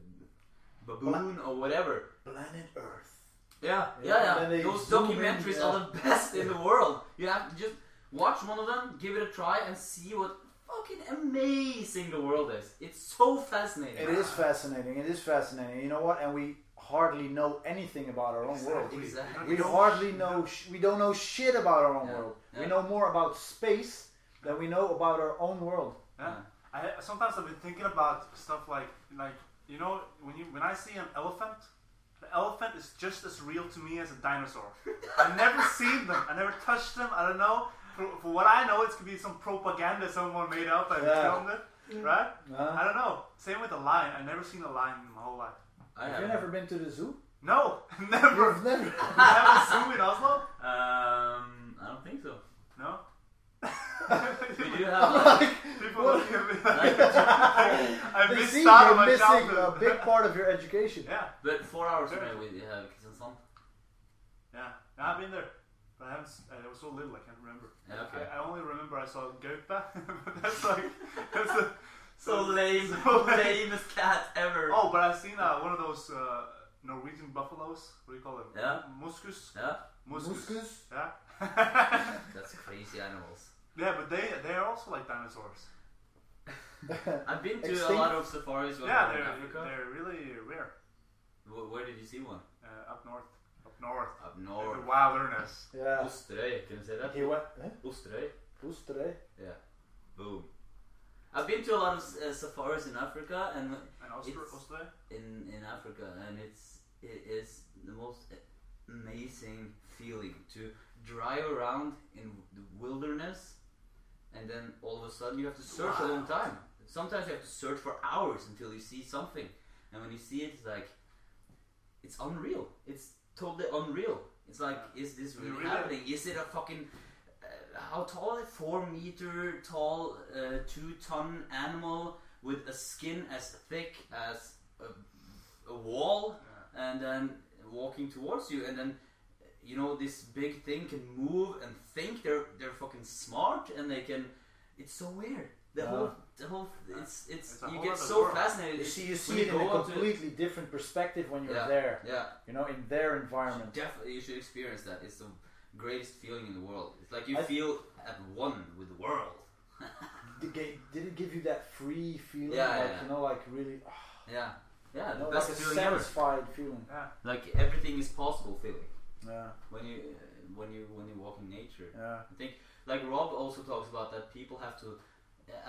baboon or whatever.
Planet Earth.
Yeah,
Yeah,
yeah, yeah.
and then they
Those
zoom in,
documentaries
yeah.
are the best in the world. You have to just watch one of them, give it a try, and see what fucking amazing the world is. It's so fascinating.
It is fascinating. It is fascinating. You know what? And we hardly know anything about our own world.
Exactly.
We hardly know. Sh- we don't know shit about our own
Yeah.
world. We
Yeah.
know more about space than we know about our own world.
Yeah. I sometimes I've been thinking about stuff like like you know when you when I see an elephant, the elephant is just as real to me as a
(laughs)
dinosaur. I've never seen them. I never touched them. I don't know. For, for what I know, it could be some propaganda someone made up and
Yeah.
filmed it, right? I
Huh?
don't know. Same with a lion. I've never seen a lion in my whole life.
I
Have you
have.
never been to the zoo?
No, (laughs) never.
(laughs)
(laughs) You've (laughs) never.
you have a zoo in Oslo?
Um, I don't think so.
No. (laughs)
We
(laughs)
do have like,
People looking at me like (laughs) I
They see
missed out on
you're
my
missing a
childhood.
big part of your education.
(laughs)
(laughs)
yeah.
but four hours away we have kids and son.
Yeah, no, I've been there, but I haven't. s- I was so little, I can't remember.
Yeah, okay.
I, I only remember I saw (laughs) Gaupa. that's like that's a,
So
(laughs)
lame,
so lame.
lamest cat ever.
Oh, but I've seen uh, one of those uh, Norwegian buffaloes. What do you call them?
Yeah.
Muskus.
Yeah,
Muskus.
Muskus?
Yeah. (laughs)
that's crazy animals.
yeah, but they they are also like dinosaurs.
I've been to a
Extinct?
lot of safaris when
yeah,
I was in
they're
Africa.
they're really rare
Wh- Where did you see one?
uh, up north. Up north,
Up
in
north.
the wilderness.
(laughs) Yeah.
Osterøy, can you say that?
He went. Huh?
Osterøy.
Oesterij?
Boom. I've been to a lot of uh, safaris in Africa and
And Austria,
It's-
Austria.
in in Africa, and it's it is the most amazing feeling to drive around in the wilderness, and then all of a sudden you have to search a long time. Sometimes you have to search for hours until you see something, and when you see it, it's like it's unreal. It's totally unreal. It's like, is this
You
really,
really-
happening? Is it a fucking uh, how tall? is it? Four meter tall, uh, two ton animal with a skin as thick as a, a wall, and then walking towards you, and then you know this big thing can move and think. They're they're fucking smart, and they can. It's so weird. The
Yeah.
whole the whole it's it's,
It's a
you
whole
get
other
so
world.
fascinated.
You see, you
when
see it in
go
a
out to-
completely different perspective when you're
Yeah.
there.
yeah.
You know, in their
You should
environment.
Definitely, you should experience that. It's the greatest feeling in the world. It's like you
I-
feel at one with the world.
Did it- did it give you that free feeling?
Yeah,
like,
yeah, yeah.
You know, like really. ah,
Yeah, yeah,
you
the
know,
best
like a
feeling ever.
satisfied feeling.
Yeah.
Like everything is possible feeling
Yeah,
when you uh, when you when you walk in nature.
yeah.
I think like Rob also talks about that people have to.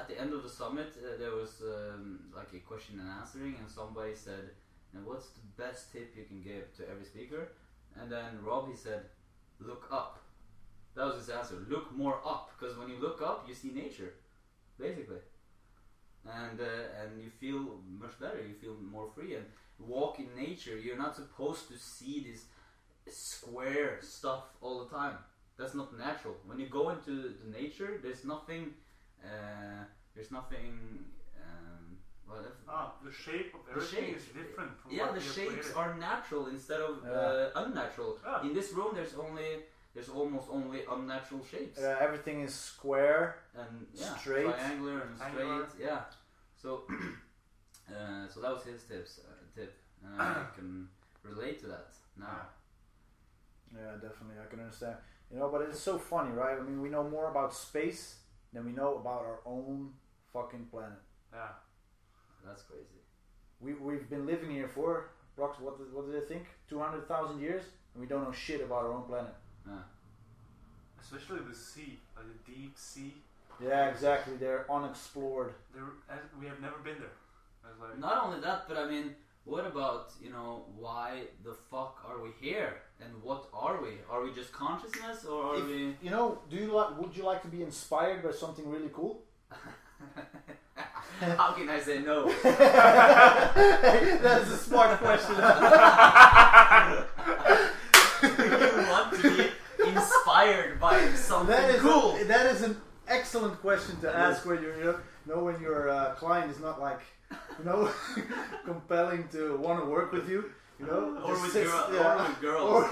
At the end of the summit, uh, there was um, like a question and answering, and somebody said, "Now, "What's the best tip you can give to every speaker?" And then Rob he said, "Look up." That was his answer. Look more up, because when you look up, you see nature, basically, and uh, and you feel much better. You feel more free and walk in nature. You're not supposed to see this square stuff all the time. That's not natural. When you go into the nature, there's nothing. Uh, there's nothing. Um, well, if-
Oh, the shape of
the
everything
shape-
is different from
yeah,
what
the
we have
shapes
created.
are natural instead of uh,
Yeah.
unnatural.
Yeah.
In this room, there's only there's almost only unnatural shapes
Yeah, everything is square.
and yeah,
Straight.
triangular and
Triangular.
straight. Yeah. So, (clears throat) uh, so that was his tips. Uh, tip. And (coughs) I can relate to that now.
Yeah, definitely, I can understand. You know, but it's so funny, right? I mean, we know more about space than we know about our own fucking planet.
Yeah.
That's crazy.
We we've been living here for approx. What did, what do they think? Two hundred thousand years, and we don't know shit about our own planet.
Especially the sea, like the deep sea.
Yeah, exactly. They're unexplored.
There, as- we have never been there. I was like,
Not only that, but I mean, what about you know why the fuck are we here and what are we? Are we just consciousness or are
If-
we?
You know, do you like? Would you like to be inspired by something really cool?
(laughs)
(laughs)
How can I say no?
That's a smart question.
Do you want to be inspired by something
That is
cool?
that is an excellent question to
It
ask when you're, you know, when your uh, client is not like, you know, (laughs) compelling to want to work with you, you know,
or,
Just
with
sits-
girl, or
yeah.
with girls
Or-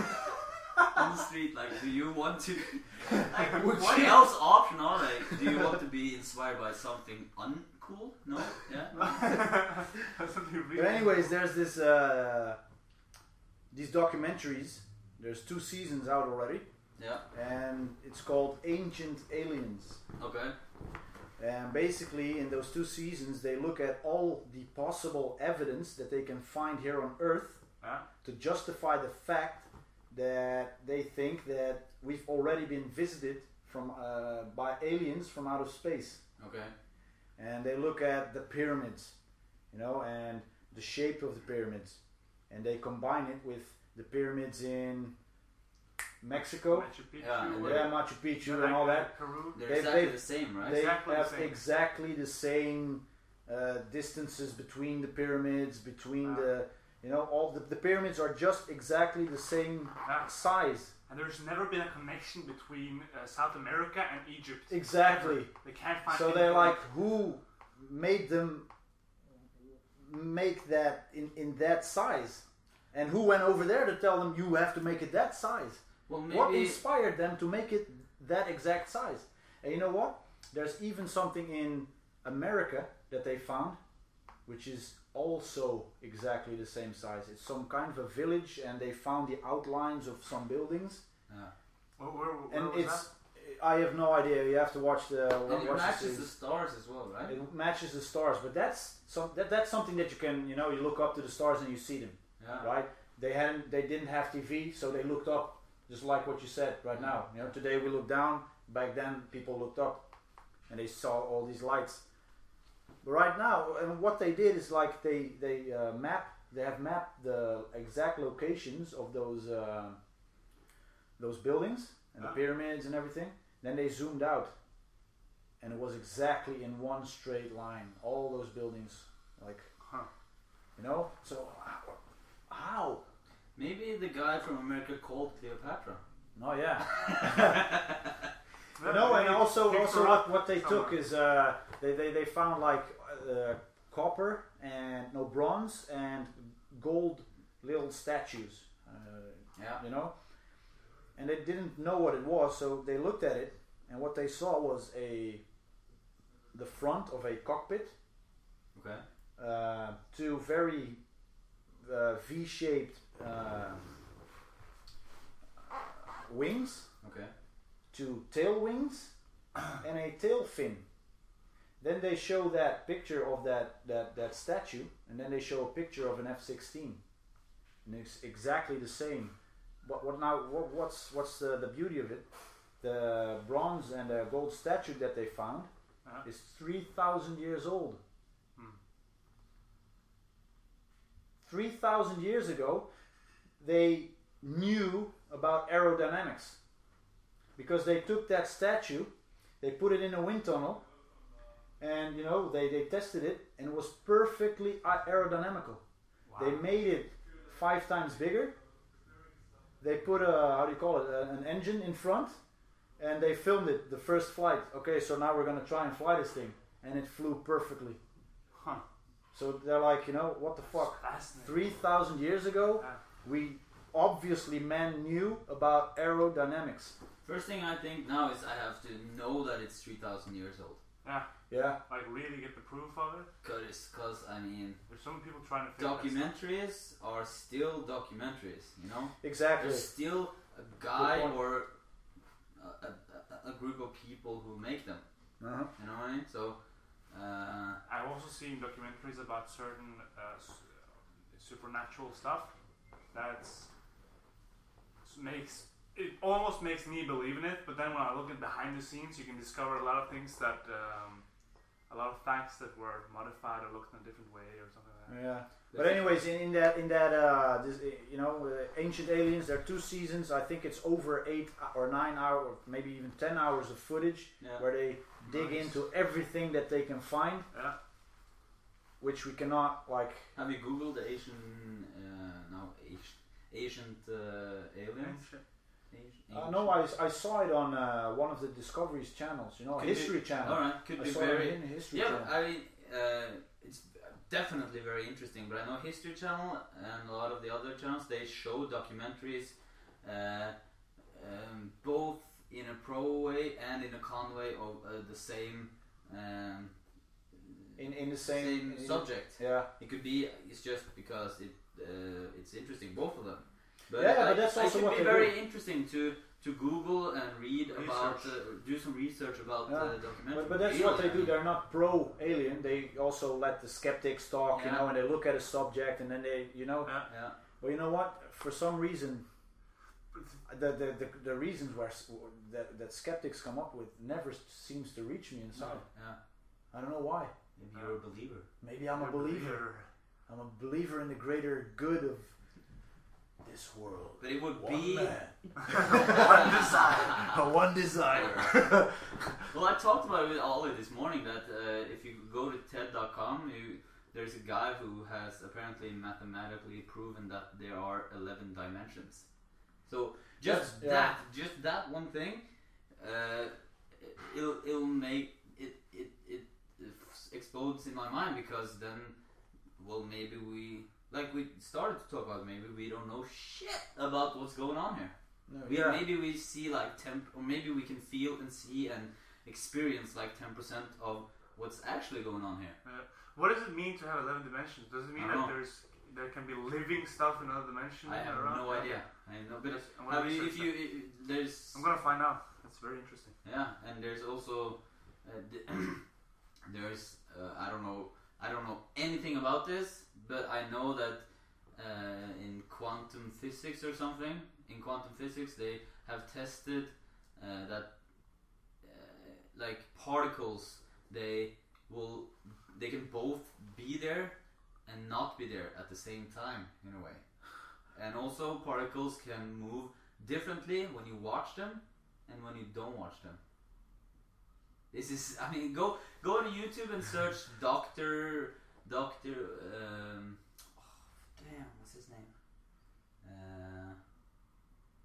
on the street, like, do you want to? Like,
Would
what
you-
else option are they? Do you want to be inspired by something uncool? No, yeah.
(laughs) that's what you
But
really.
anyways, there's this uh, these documentaries. There's two seasons out already,
Yeah.
and it's called Ancient Aliens.
Okay.
And basically, in those two seasons, they look at all the possible evidence that they can find here on Earth
Yeah.
to justify the fact that they think that we've already been visited from uh, by aliens from outer space.
Okay.
And they look at the pyramids, you know, and the shape of the pyramids, and they combine it with the pyramids in Mexico,
Machu Picchu,
Yeah, and
or-
yeah, Machu Picchu, and
like,
all
uh,
that.
Peru.
They're
They-
exactly
they-
the same, right?
They
Exactly the
have
same.
exactly the same uh, distances between the pyramids, between
Ah.
the you know all the, the pyramids are just exactly the same
Yeah.
size.
And there's never been a connection between uh, South America and Egypt.
Exactly.
They can't find.
So
any
they're like,
connection.
who made them make that in, in that size? And who went over there to tell them you have to make it that size?
well,
What
maybe.
inspired them to make it that exact size? And you know what? There's even something in America that they found, which is also exactly the same size. It's some kind of a village, and they found the outlines of some buildings.
Yeah.
Where, where, where
And
was
it's I have no idea. You have to watch the
And it
watch the
matches
series.
the stars as well, right?
It matches the stars, but that's some that, that's something that you can you know you look up to the stars and you see them,
Ah.
Yeah.
right? They hadn't they didn't have TV, so they looked up, just like what you said right now.
Mm-hmm.
You know, today we look down. Back then, people looked up, and they saw all these lights. But right now, and what they did is like they they uh, map they have mapped the exact locations of those uh, those buildings and
Ah.
the pyramids and everything. Then they zoomed out, and it was exactly in one straight line. All those buildings, like,
Huh.
you know. So uh, how- how?
Maybe the guy from America called Cleopatra.
No,
(laughs)
yeah.
that?
no,
They
and also
picked
also
her
what,
up.
what they took
somewhere.
is uh, they, they they found like uh, copper and no bronze and gold little statues, uh,
Yeah.
you know, and they didn't know what it was, so they looked at it, and what they saw was a the front of a cockpit,
Okay.
uh, two very uh, V-shaped uh, wings
Okay.
to tail wings
(clears throat)
and a tail fin. Then they show that picture of that, that, that statue, and then they show a picture of an F sixteen, and it's exactly the same. What, what now? What, what's what's the, the beauty of it? The bronze and the gold statue that they found
Uh-huh.
is three thousand years old.
Hmm.
Three thousand years ago, they knew about aerodynamics because they took that statue, they put it in a wind tunnel, and you know they, they tested it and it was perfectly a- aerodynamical.
Wow.
They made it five times bigger. They put a how do you call it a- an engine in front, and they filmed it the first flight. Okay, so now we're gonna try and fly this thing, and it flew perfectly.
Huh.
So they're like, you know, what the fuck?
Fascinating.
Three thousand years ago,
Yeah.
we obviously man knew about aerodynamics.
First thing I think now is I have to know that it's 3,000 years old.
Yeah,
Like really get the proof of it.
Because, I mean,
There's some people trying to figure that
documentaries are still documentaries, you know?
exactly.
There's still a guy
Good point.
or a, a, a- a group of people who make them,
Uh-huh.
you know what I mean? So, uh,
I've also seen documentaries about certain uh, s- supernatural stuff that's s- makes it almost makes me believe in it. But then when I look at behind the scenes, you can discover a lot of things that um, a lot of facts that were modified or looked in a different way or something like that.
Yeah. But anyways, in, in that in that uh, this, uh, you know, uh, Ancient Aliens, there are two seasons. I think it's over eight uh, or nine hour, or maybe even ten hours of footage
yeah.
where they dig
Nice.
into everything that they can find,
Yeah.
which we cannot like.
Have you googled the Asian, uh, no, Asian, ancient uh, aliens?
Ancient-
Asian,
Uh, no, I, I saw it on uh, one of the Discoveries channels, you know,
Could
History
be-
Channel.
Alright, could
I
be
saw
very
it in the History
Yeah,
Channel.
I mean, uh, it's definitely very interesting. But I know History Channel and a lot of the other channels they show documentaries, uh, um, both in a pro way and in a con way of uh, the same. Um,
in in the same, in- in-
subject.
yeah,
It could be it's just because it uh, it's interesting both of them. But
Yeah,
I,
but that's
I
also
could
what
be
they
very interesting to to Google and read about, uh,
Research.
do some research about
Yeah.
the documentary.
But, but that's what they
Alien.
do. They're not pro alien. They also let the skeptics talk, you
Yeah.
know, and they look at a subject, and then they, you know,
Yeah.
Yeah.
well, you know what? For some reason,
But
the the, the, the reasons where s- that, that skeptics come up with never s- seems to reach me inside.
Yeah.
I don't know why.
Maybe you're a believer.
Maybe I'm a
you're
believer. I'm a believer in the greater good of this world.
But it would
One
be. (laughs)
man, (laughs)
One desire.
(laughs)
one desire.
Well, I talked about it with Ollie this morning that uh, if you go to TED.com, you, there's a guy who has apparently mathematically proven that there are 11 dimensions. So just
Yeah, yeah.
that, just that one thing, uh, it- it'll, it'll make it it it f- explodes in my mind because then, well, maybe we like we started to talk about maybe we don't know shit about what's going on here.
No,
We,
yeah.
Maybe we see like ten, or maybe we can feel and see and experience like ten percent of what's actually going on here.
What does it mean to have 11 dimensions? Does it mean
I
that
don't know.
there's there can be living stuff in another dimension?
I have
around?
no idea. I have no, but
Yes, I'm
I
gonna
mean,
research
if you i- there's
I'm gonna find out. That's very interesting.
yeah, and there's also uh, the- (clears throat) there's uh, I don't know I don't know anything about this, but I know that uh, in quantum physics or something in quantum physics they have tested uh, that uh, like particles they will they can both be there and not be there at the same time in a way and also particles can move differently when you watch them and when you don't watch them this is i mean go go to youtube and search doctor doctor um oh, damn what's his name uh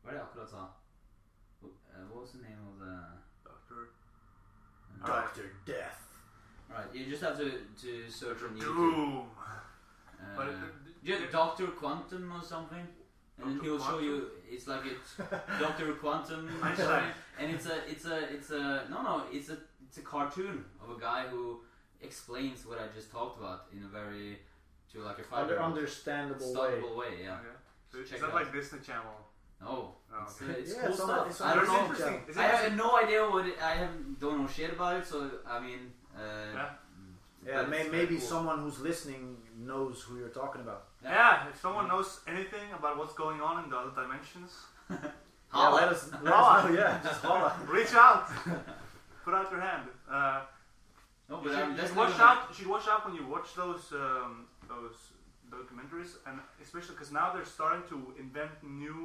what did I akkurat sa? Uh, what was the name of the
Doctor.
Doctor Death.
Right, you just have to, to search on YouTube.
Doom.
Uh,
But it-
yeah, Doctor Quantum or something, and then
Dr.
he'll show
Quantum?
you. It's like a Doctor Quantum,
(laughs) Einstein.
(laughs) and it's a it's a it's a no no it's a it's a cartoon of a guy who explains what I just talked about in a very to like a five
Under,
year old
understandable way.
way. yeah.
Okay. So it's
Check
not
it
like Disney Channel.
No,
Oh,
it's,
okay.
uh, it's
Yeah,
cool
it's on-
stuff.
it's
I
on
don't
But it's
Disney
know.
interesting.
Channel.
Is it
I have no idea what it, I have. Don't know shit about it. So I mean, uh,
Yeah.
Yeah,
but
may,
it's very
maybe
cool.
someone who's listening knows who you're talking about.
Yeah. if someone knows anything about what's going on in the other dimensions,
Yeah,
Holla.
let
(laughs)
us, let us
Holla.
know. (laughs) Yeah, just holla.
reach out. Put out your hand. Uh,
No,
you
but
should,
um,
you
that's
should
not
watch
gonna-
out. You should watch out when you watch those um, those documentaries, and especially because now they're starting to invent new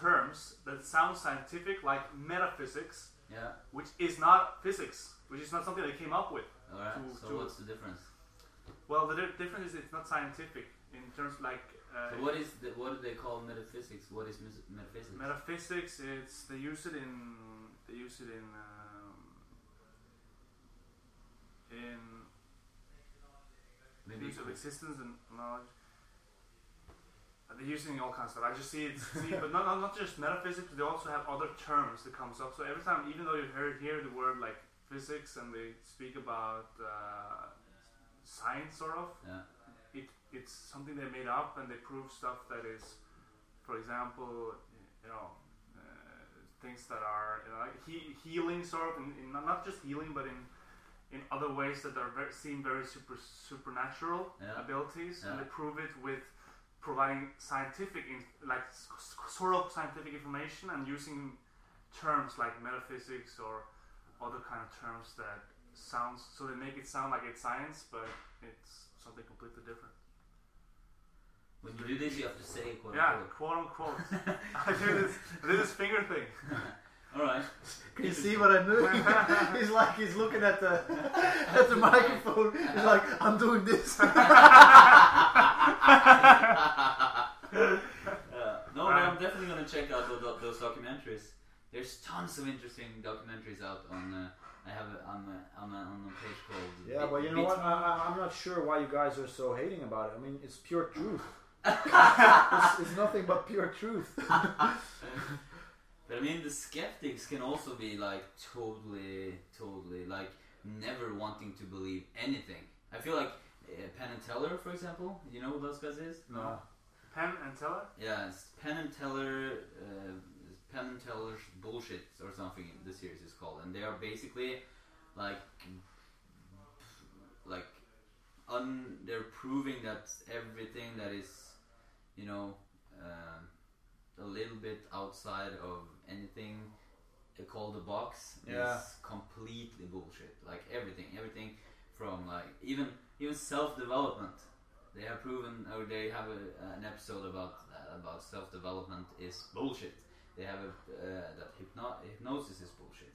terms that sound scientific, like metaphysics,
Yeah.
which is not physics, which is not something they came up with.
Alright,
to-
so
to-
what's the difference?
Well, the di- difference is it's not scientific in terms like uh,
So what is the, what do they call metaphysics? What is mis- metaphysics?
metaphysics. It's they use it in they use it in um, in
Maybe
views of existence and knowledge. Uh, They're using all kinds of stuff. I just see it, see, but not, not not just metaphysics. They also have other terms that comes up. So every time, even though you hear hear the word like physics and they speak about uh, science, sort of,
yeah.
it, it's something they made up and they prove stuff that is, for example, you know, uh, things that are you know, like he, healing sort of, in, in, not just healing, but in in other ways that are very, seem very super supernatural
Yeah.
abilities, and
Yeah.
they prove it with providing scientific, in, like s- s- sort of scientific information and using terms like metaphysics or other kind of terms that sounds so they make it sound like it's science, but it's something completely different.
When you do this, you have to say quote
yeah, quote
(laughs)
unquote. (laughs) I do this, I do this finger thing.
(laughs) Alright.
Can you see what I knew? (laughs) he's like, he's looking at the (laughs) at the microphone. He's like, I'm doing this.
Uh, no, but I'm definitely gonna check out tho- tho- those documentaries. There's tons of interesting documentaries out on. Uh, I have a, on, a, on, a, on a page called.
Yeah,
Bit-
but you know what?
Bit-
I, I, I'm not sure why you guys are so hating about it. I mean, it's pure (laughs) truth. it's, it's nothing but pure truth.
But I mean, the skeptics can also be like totally, totally like never wanting to believe anything. I feel like uh, Penn and Teller, for example. You know who those guys is?
No. Penn and Teller?
Yeah, it's Penn and Teller. Uh, Penn and Teller's Bullshit or something. The series is called, and they are basically like like un, they're proving that everything that is you know um a little bit outside of anything they call the box
Yeah.
is completely bullshit. Like everything, everything from like even even self development. They have proven, or they have a, an episode about uh, about self development is bullshit. They have a, uh, that hypno- hypnosis is bullshit,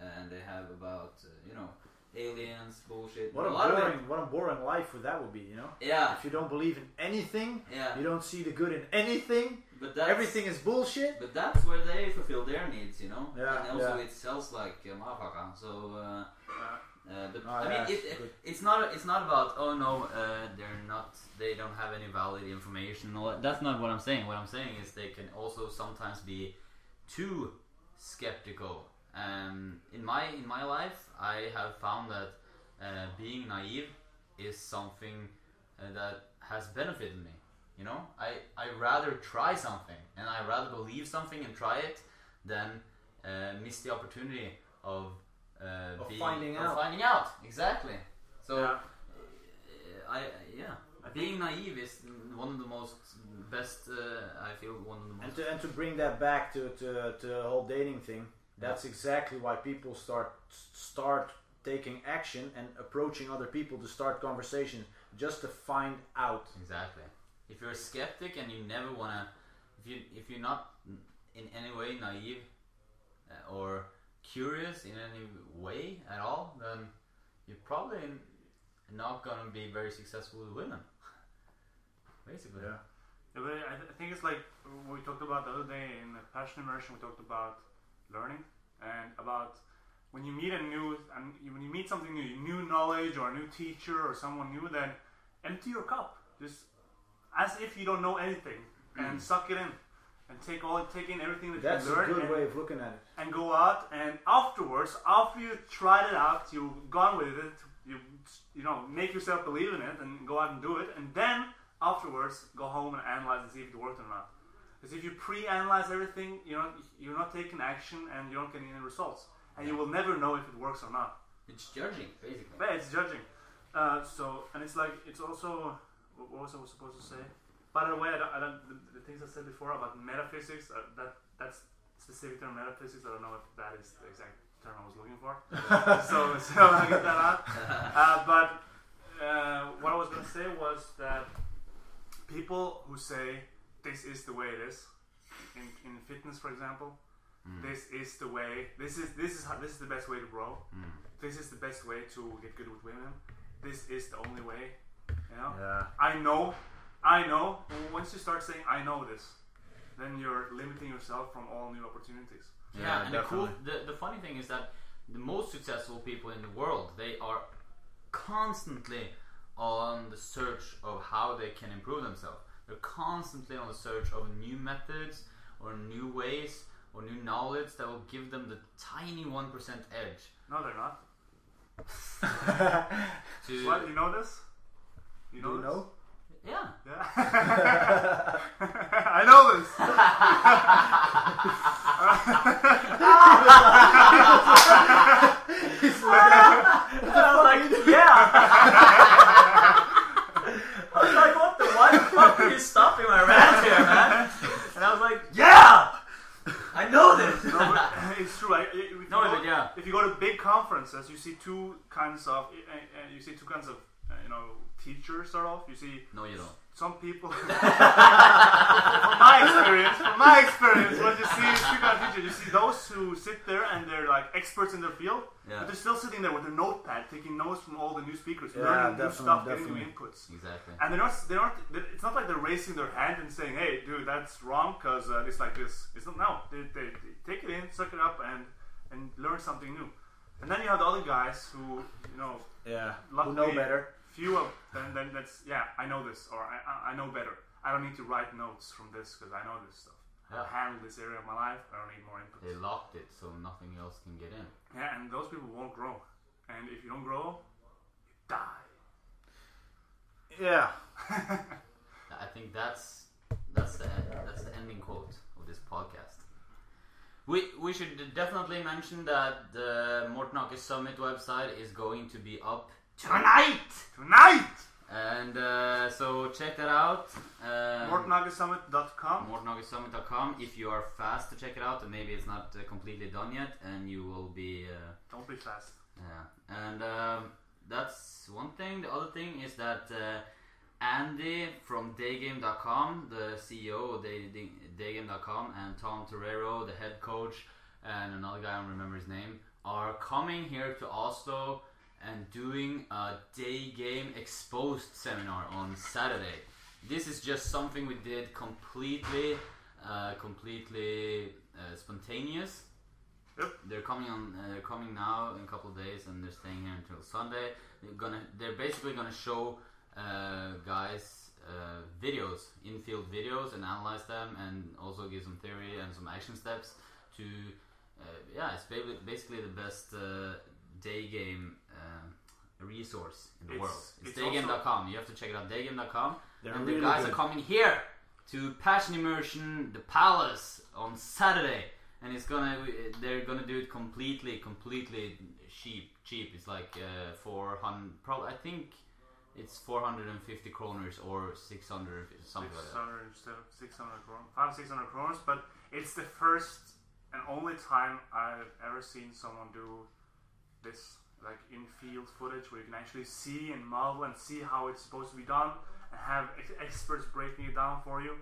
and they have about uh, you know aliens bullshit.
What a
of
boring, what a boring life would that would be, you know.
it, yeah,
If you don't believe in anything,
yeah.
you don't see the good in anything.
But that's,
Everything is bullshit.
But that's where they fulfill their needs, you know.
Yeah,
and also
yeah.
it sells like a motherfucker. So. Uh,
Uh,
Uh, but
Oh,
I
yeah,
mean, it,
it's
it-
good.
it's not it's not about oh no, uh, they're not they don't have any valid information. and all that. That's not what I'm saying. What I'm saying is they can also sometimes be too skeptical. Um, in my in my life, I have found that uh, being naive is something uh, that has benefited me. You know, I I rather try something and I rather believe something and try it than uh, miss the opportunity of uh,
Of
being,
finding
of
out.
Finding out exactly. So
yeah.
uh, I yeah, being naive is one of the most best. Uh, I feel one of the
And
most.
to, and to bring that back to, to, to the whole dating thing, that's exactly why people start start taking action and approaching other people to start conversations just to find out.
Exactly. If you're a skeptic and you never wanna, if you if you're not in any way naive uh, or curious in any way at all, then you're probably not gonna be very successful with women. (laughs) Basically.
Yeah.
Yeah, but I, I think it's like we talked about the other day in the passion immersion. We talked about learning and about when you meet a new and you- when you meet something new, new knowledge or a new teacher or someone new. Then empty your cup, just as if you don't know anything, and suck it in, and take all take in everything that
Mm. That's
you
a
learn.
good
and,
way of looking at it.
and go out and afterwards after you tried it out you've gone with it you you know make yourself believe in it and go out and do it and then afterwards go home and analyze and see if it worked or not because if you pre-analyze everything you're not you're not taking action and you're not getting any results and you will never know if it works or not
It's judging, basically.
but it's judging uh, so and it's like it's also what was I was supposed to say by the way I don't, I don't the, the things I said before about metaphysics uh, that that's specific term metaphysics. I don't know if that is the exact term I was looking for. so, so I'll get that out. Uh, but uh, what I was going to say was that people who say this is the way it is, in, in fitness, for example,
Mm.
this is the way. This is this is how, this is the best way to grow.
Mm.
This is the best way to get good with women. This is the only way. You know.
Yeah.
I know, I know. Once you start saying I know this, then you're limiting yourself from all new opportunities.
Yeah,
Yeah,
and the cool,
definitely.
the, the funny thing is that the most successful people in the world, they are constantly on the search of how they can improve themselves. They're constantly on the search of new methods or new ways or new knowledge that will give them the tiny one percent edge
No, they're not.
to
What? You know this? You
Do
know
you
this?
know?
yeah.
Yeah. (laughs) I know this.
yeah. (laughs)
(laughs)
(laughs)
I was like, what the? Why the fuck are you stopping my rant here, man? And I was like, yeah, I know this. (laughs)
No, but it's true. I, if, you
No,
go,
but yeah.
if you go to big conferences, you see two kinds of uh, uh, you see two kinds of uh, you know teachers start off. You see
No, you don't.
some people (laughs) from my experience from my experience what you see is you kind of teacher you see those who sit there and they're like experts in their field
Yeah.
but they're still sitting there with their notepad taking notes from all the new speakers
Yeah,
learning new
definitely,
stuff getting new
definitely.
inputs
Exactly.
and they're not they're not it's not like they're raising their hand and saying hey dude that's wrong because uh, it's like this it's not no they, they, they take it in suck it up and and learn something new and then you have the other guys who you know
Yeah.
Luckily-
Who know better?
few of then then that's yeah I know this or I I, I know better I don't need to write notes from this because I know this stuff I've
Yeah.
handled this area of my life I don't need more input
They locked it so nothing else can get in.
yeah and those people won't grow and if you don't grow you die
Yeah.
I think that's that's the that's the ending quote of this podcast. We, we should definitely mention that the Morten Aker Summit website is going to be up tonight!
Tonight!
And uh, so check that out. Um,
MortenAgerSummit.com.
MortenAkerSummit.com. If you are fast to check it out, and maybe it's not uh, completely done yet, and you will be. Uh,
Don't be fast.
Yeah, and um, that's one thing. The other thing is that uh, Andy from Daygame.com, the CEO of Day- Day- Daygame.com, and Tom Torero, the head coach, and another guy I don't remember his name, are coming here to Oslo and doing a day game exposed seminar on Saturday. This is just something we did completely, uh, completely uh, spontaneous. They're coming on. Uh, they're coming now in a couple of days, and they're staying here until Sunday. They're gonna. They're basically gonna show uh, guys uh, videos, in-field videos, and analyze them, and also give some theory and some action steps to. Uh, yeah, it's ba- basically the best uh, day game uh, resource in the
It's-
world. It's,
it's
daygame.com. You have to check it out. Daygame.com.
They're
and
really
the guys
good.
are coming here to Passion Immersion, the Palace, on Saturday, and it's gonna they're gonna do it completely, completely cheap. Cheap. It's like uh, four hundred. Probably, I think it's four hundred and fifty kroners or six hundred something like that.
600, 600 kroners, 5 600 kroners, but it's the first and only time I've ever seen someone do this, like in field footage where you can actually see and model and see how it's supposed to be done and have ex- experts breaking it down for you.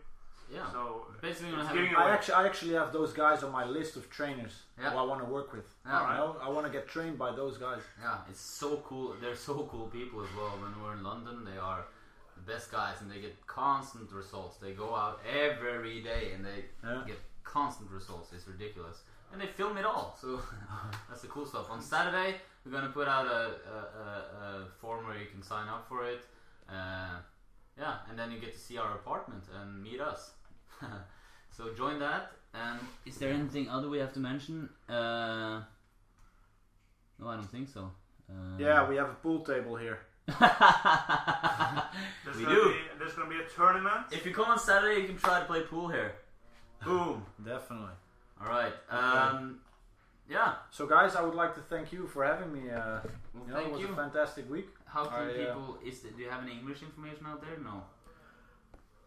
Yeah.
So,
Basically,
it's
gonna have
giving
a-
I
away.
actually, I actually have those guys on my list of trainers
Yeah.
who I want to work with.
Yeah.
You know, I want to get trained by those guys.
Yeah, it's so cool. They're so cool people as well. When we're in London, they are the best guys, and they get constant results. They go out every day, and they
Yeah.
get constant results. It's ridiculous, and they film it all. So (laughs) that's the cool stuff. On Saturday, we're gonna put out a, a, a, a form where you can sign up for it. Uh, yeah, and then you get to see our apartment and meet us. (laughs) so join that. And is there anything other we have to mention? Uh, no, I don't think so. Uh,
Yeah, we have a pool table here.
(laughs)
There's
we
gonna
do.
Be, there's going to be a tournament.
If you come on Saturday, you can try to play pool here.
Boom.
Definitely.
All right. Um, yeah.
So, guys, I would like to thank you for having me. Uh,
Well,
you know, it
thank
was
you.
a fantastic week.
How can
I, uh,
people? Is do you have any English information out there? No.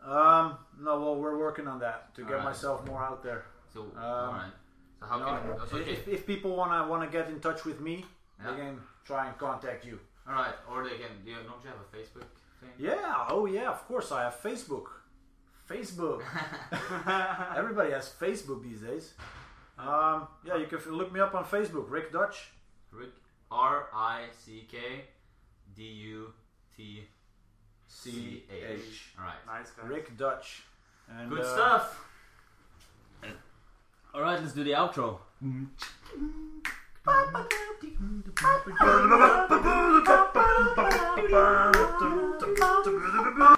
Um, no, well, we're working on that to get
Alright.
myself more out there.
So all right. So how
You
can?
know,
That's okay.
if, if people wanna wanna get in touch with me,
Yeah.
they can try and contact you.
All right. Or they can. Do you, don't you have a Facebook thing?
Yeah. Oh yeah. Of course, I have Facebook.
(laughs)
Facebook. Everybody has Facebook these days. Um, yeah, you can f- look me up on Facebook, Rick Dutch.
Rick R I C K D U T C H. All right.
Nice, guys.
Rick Dutch. And,
Good
uh,
stuff. All right. Let's do the outro.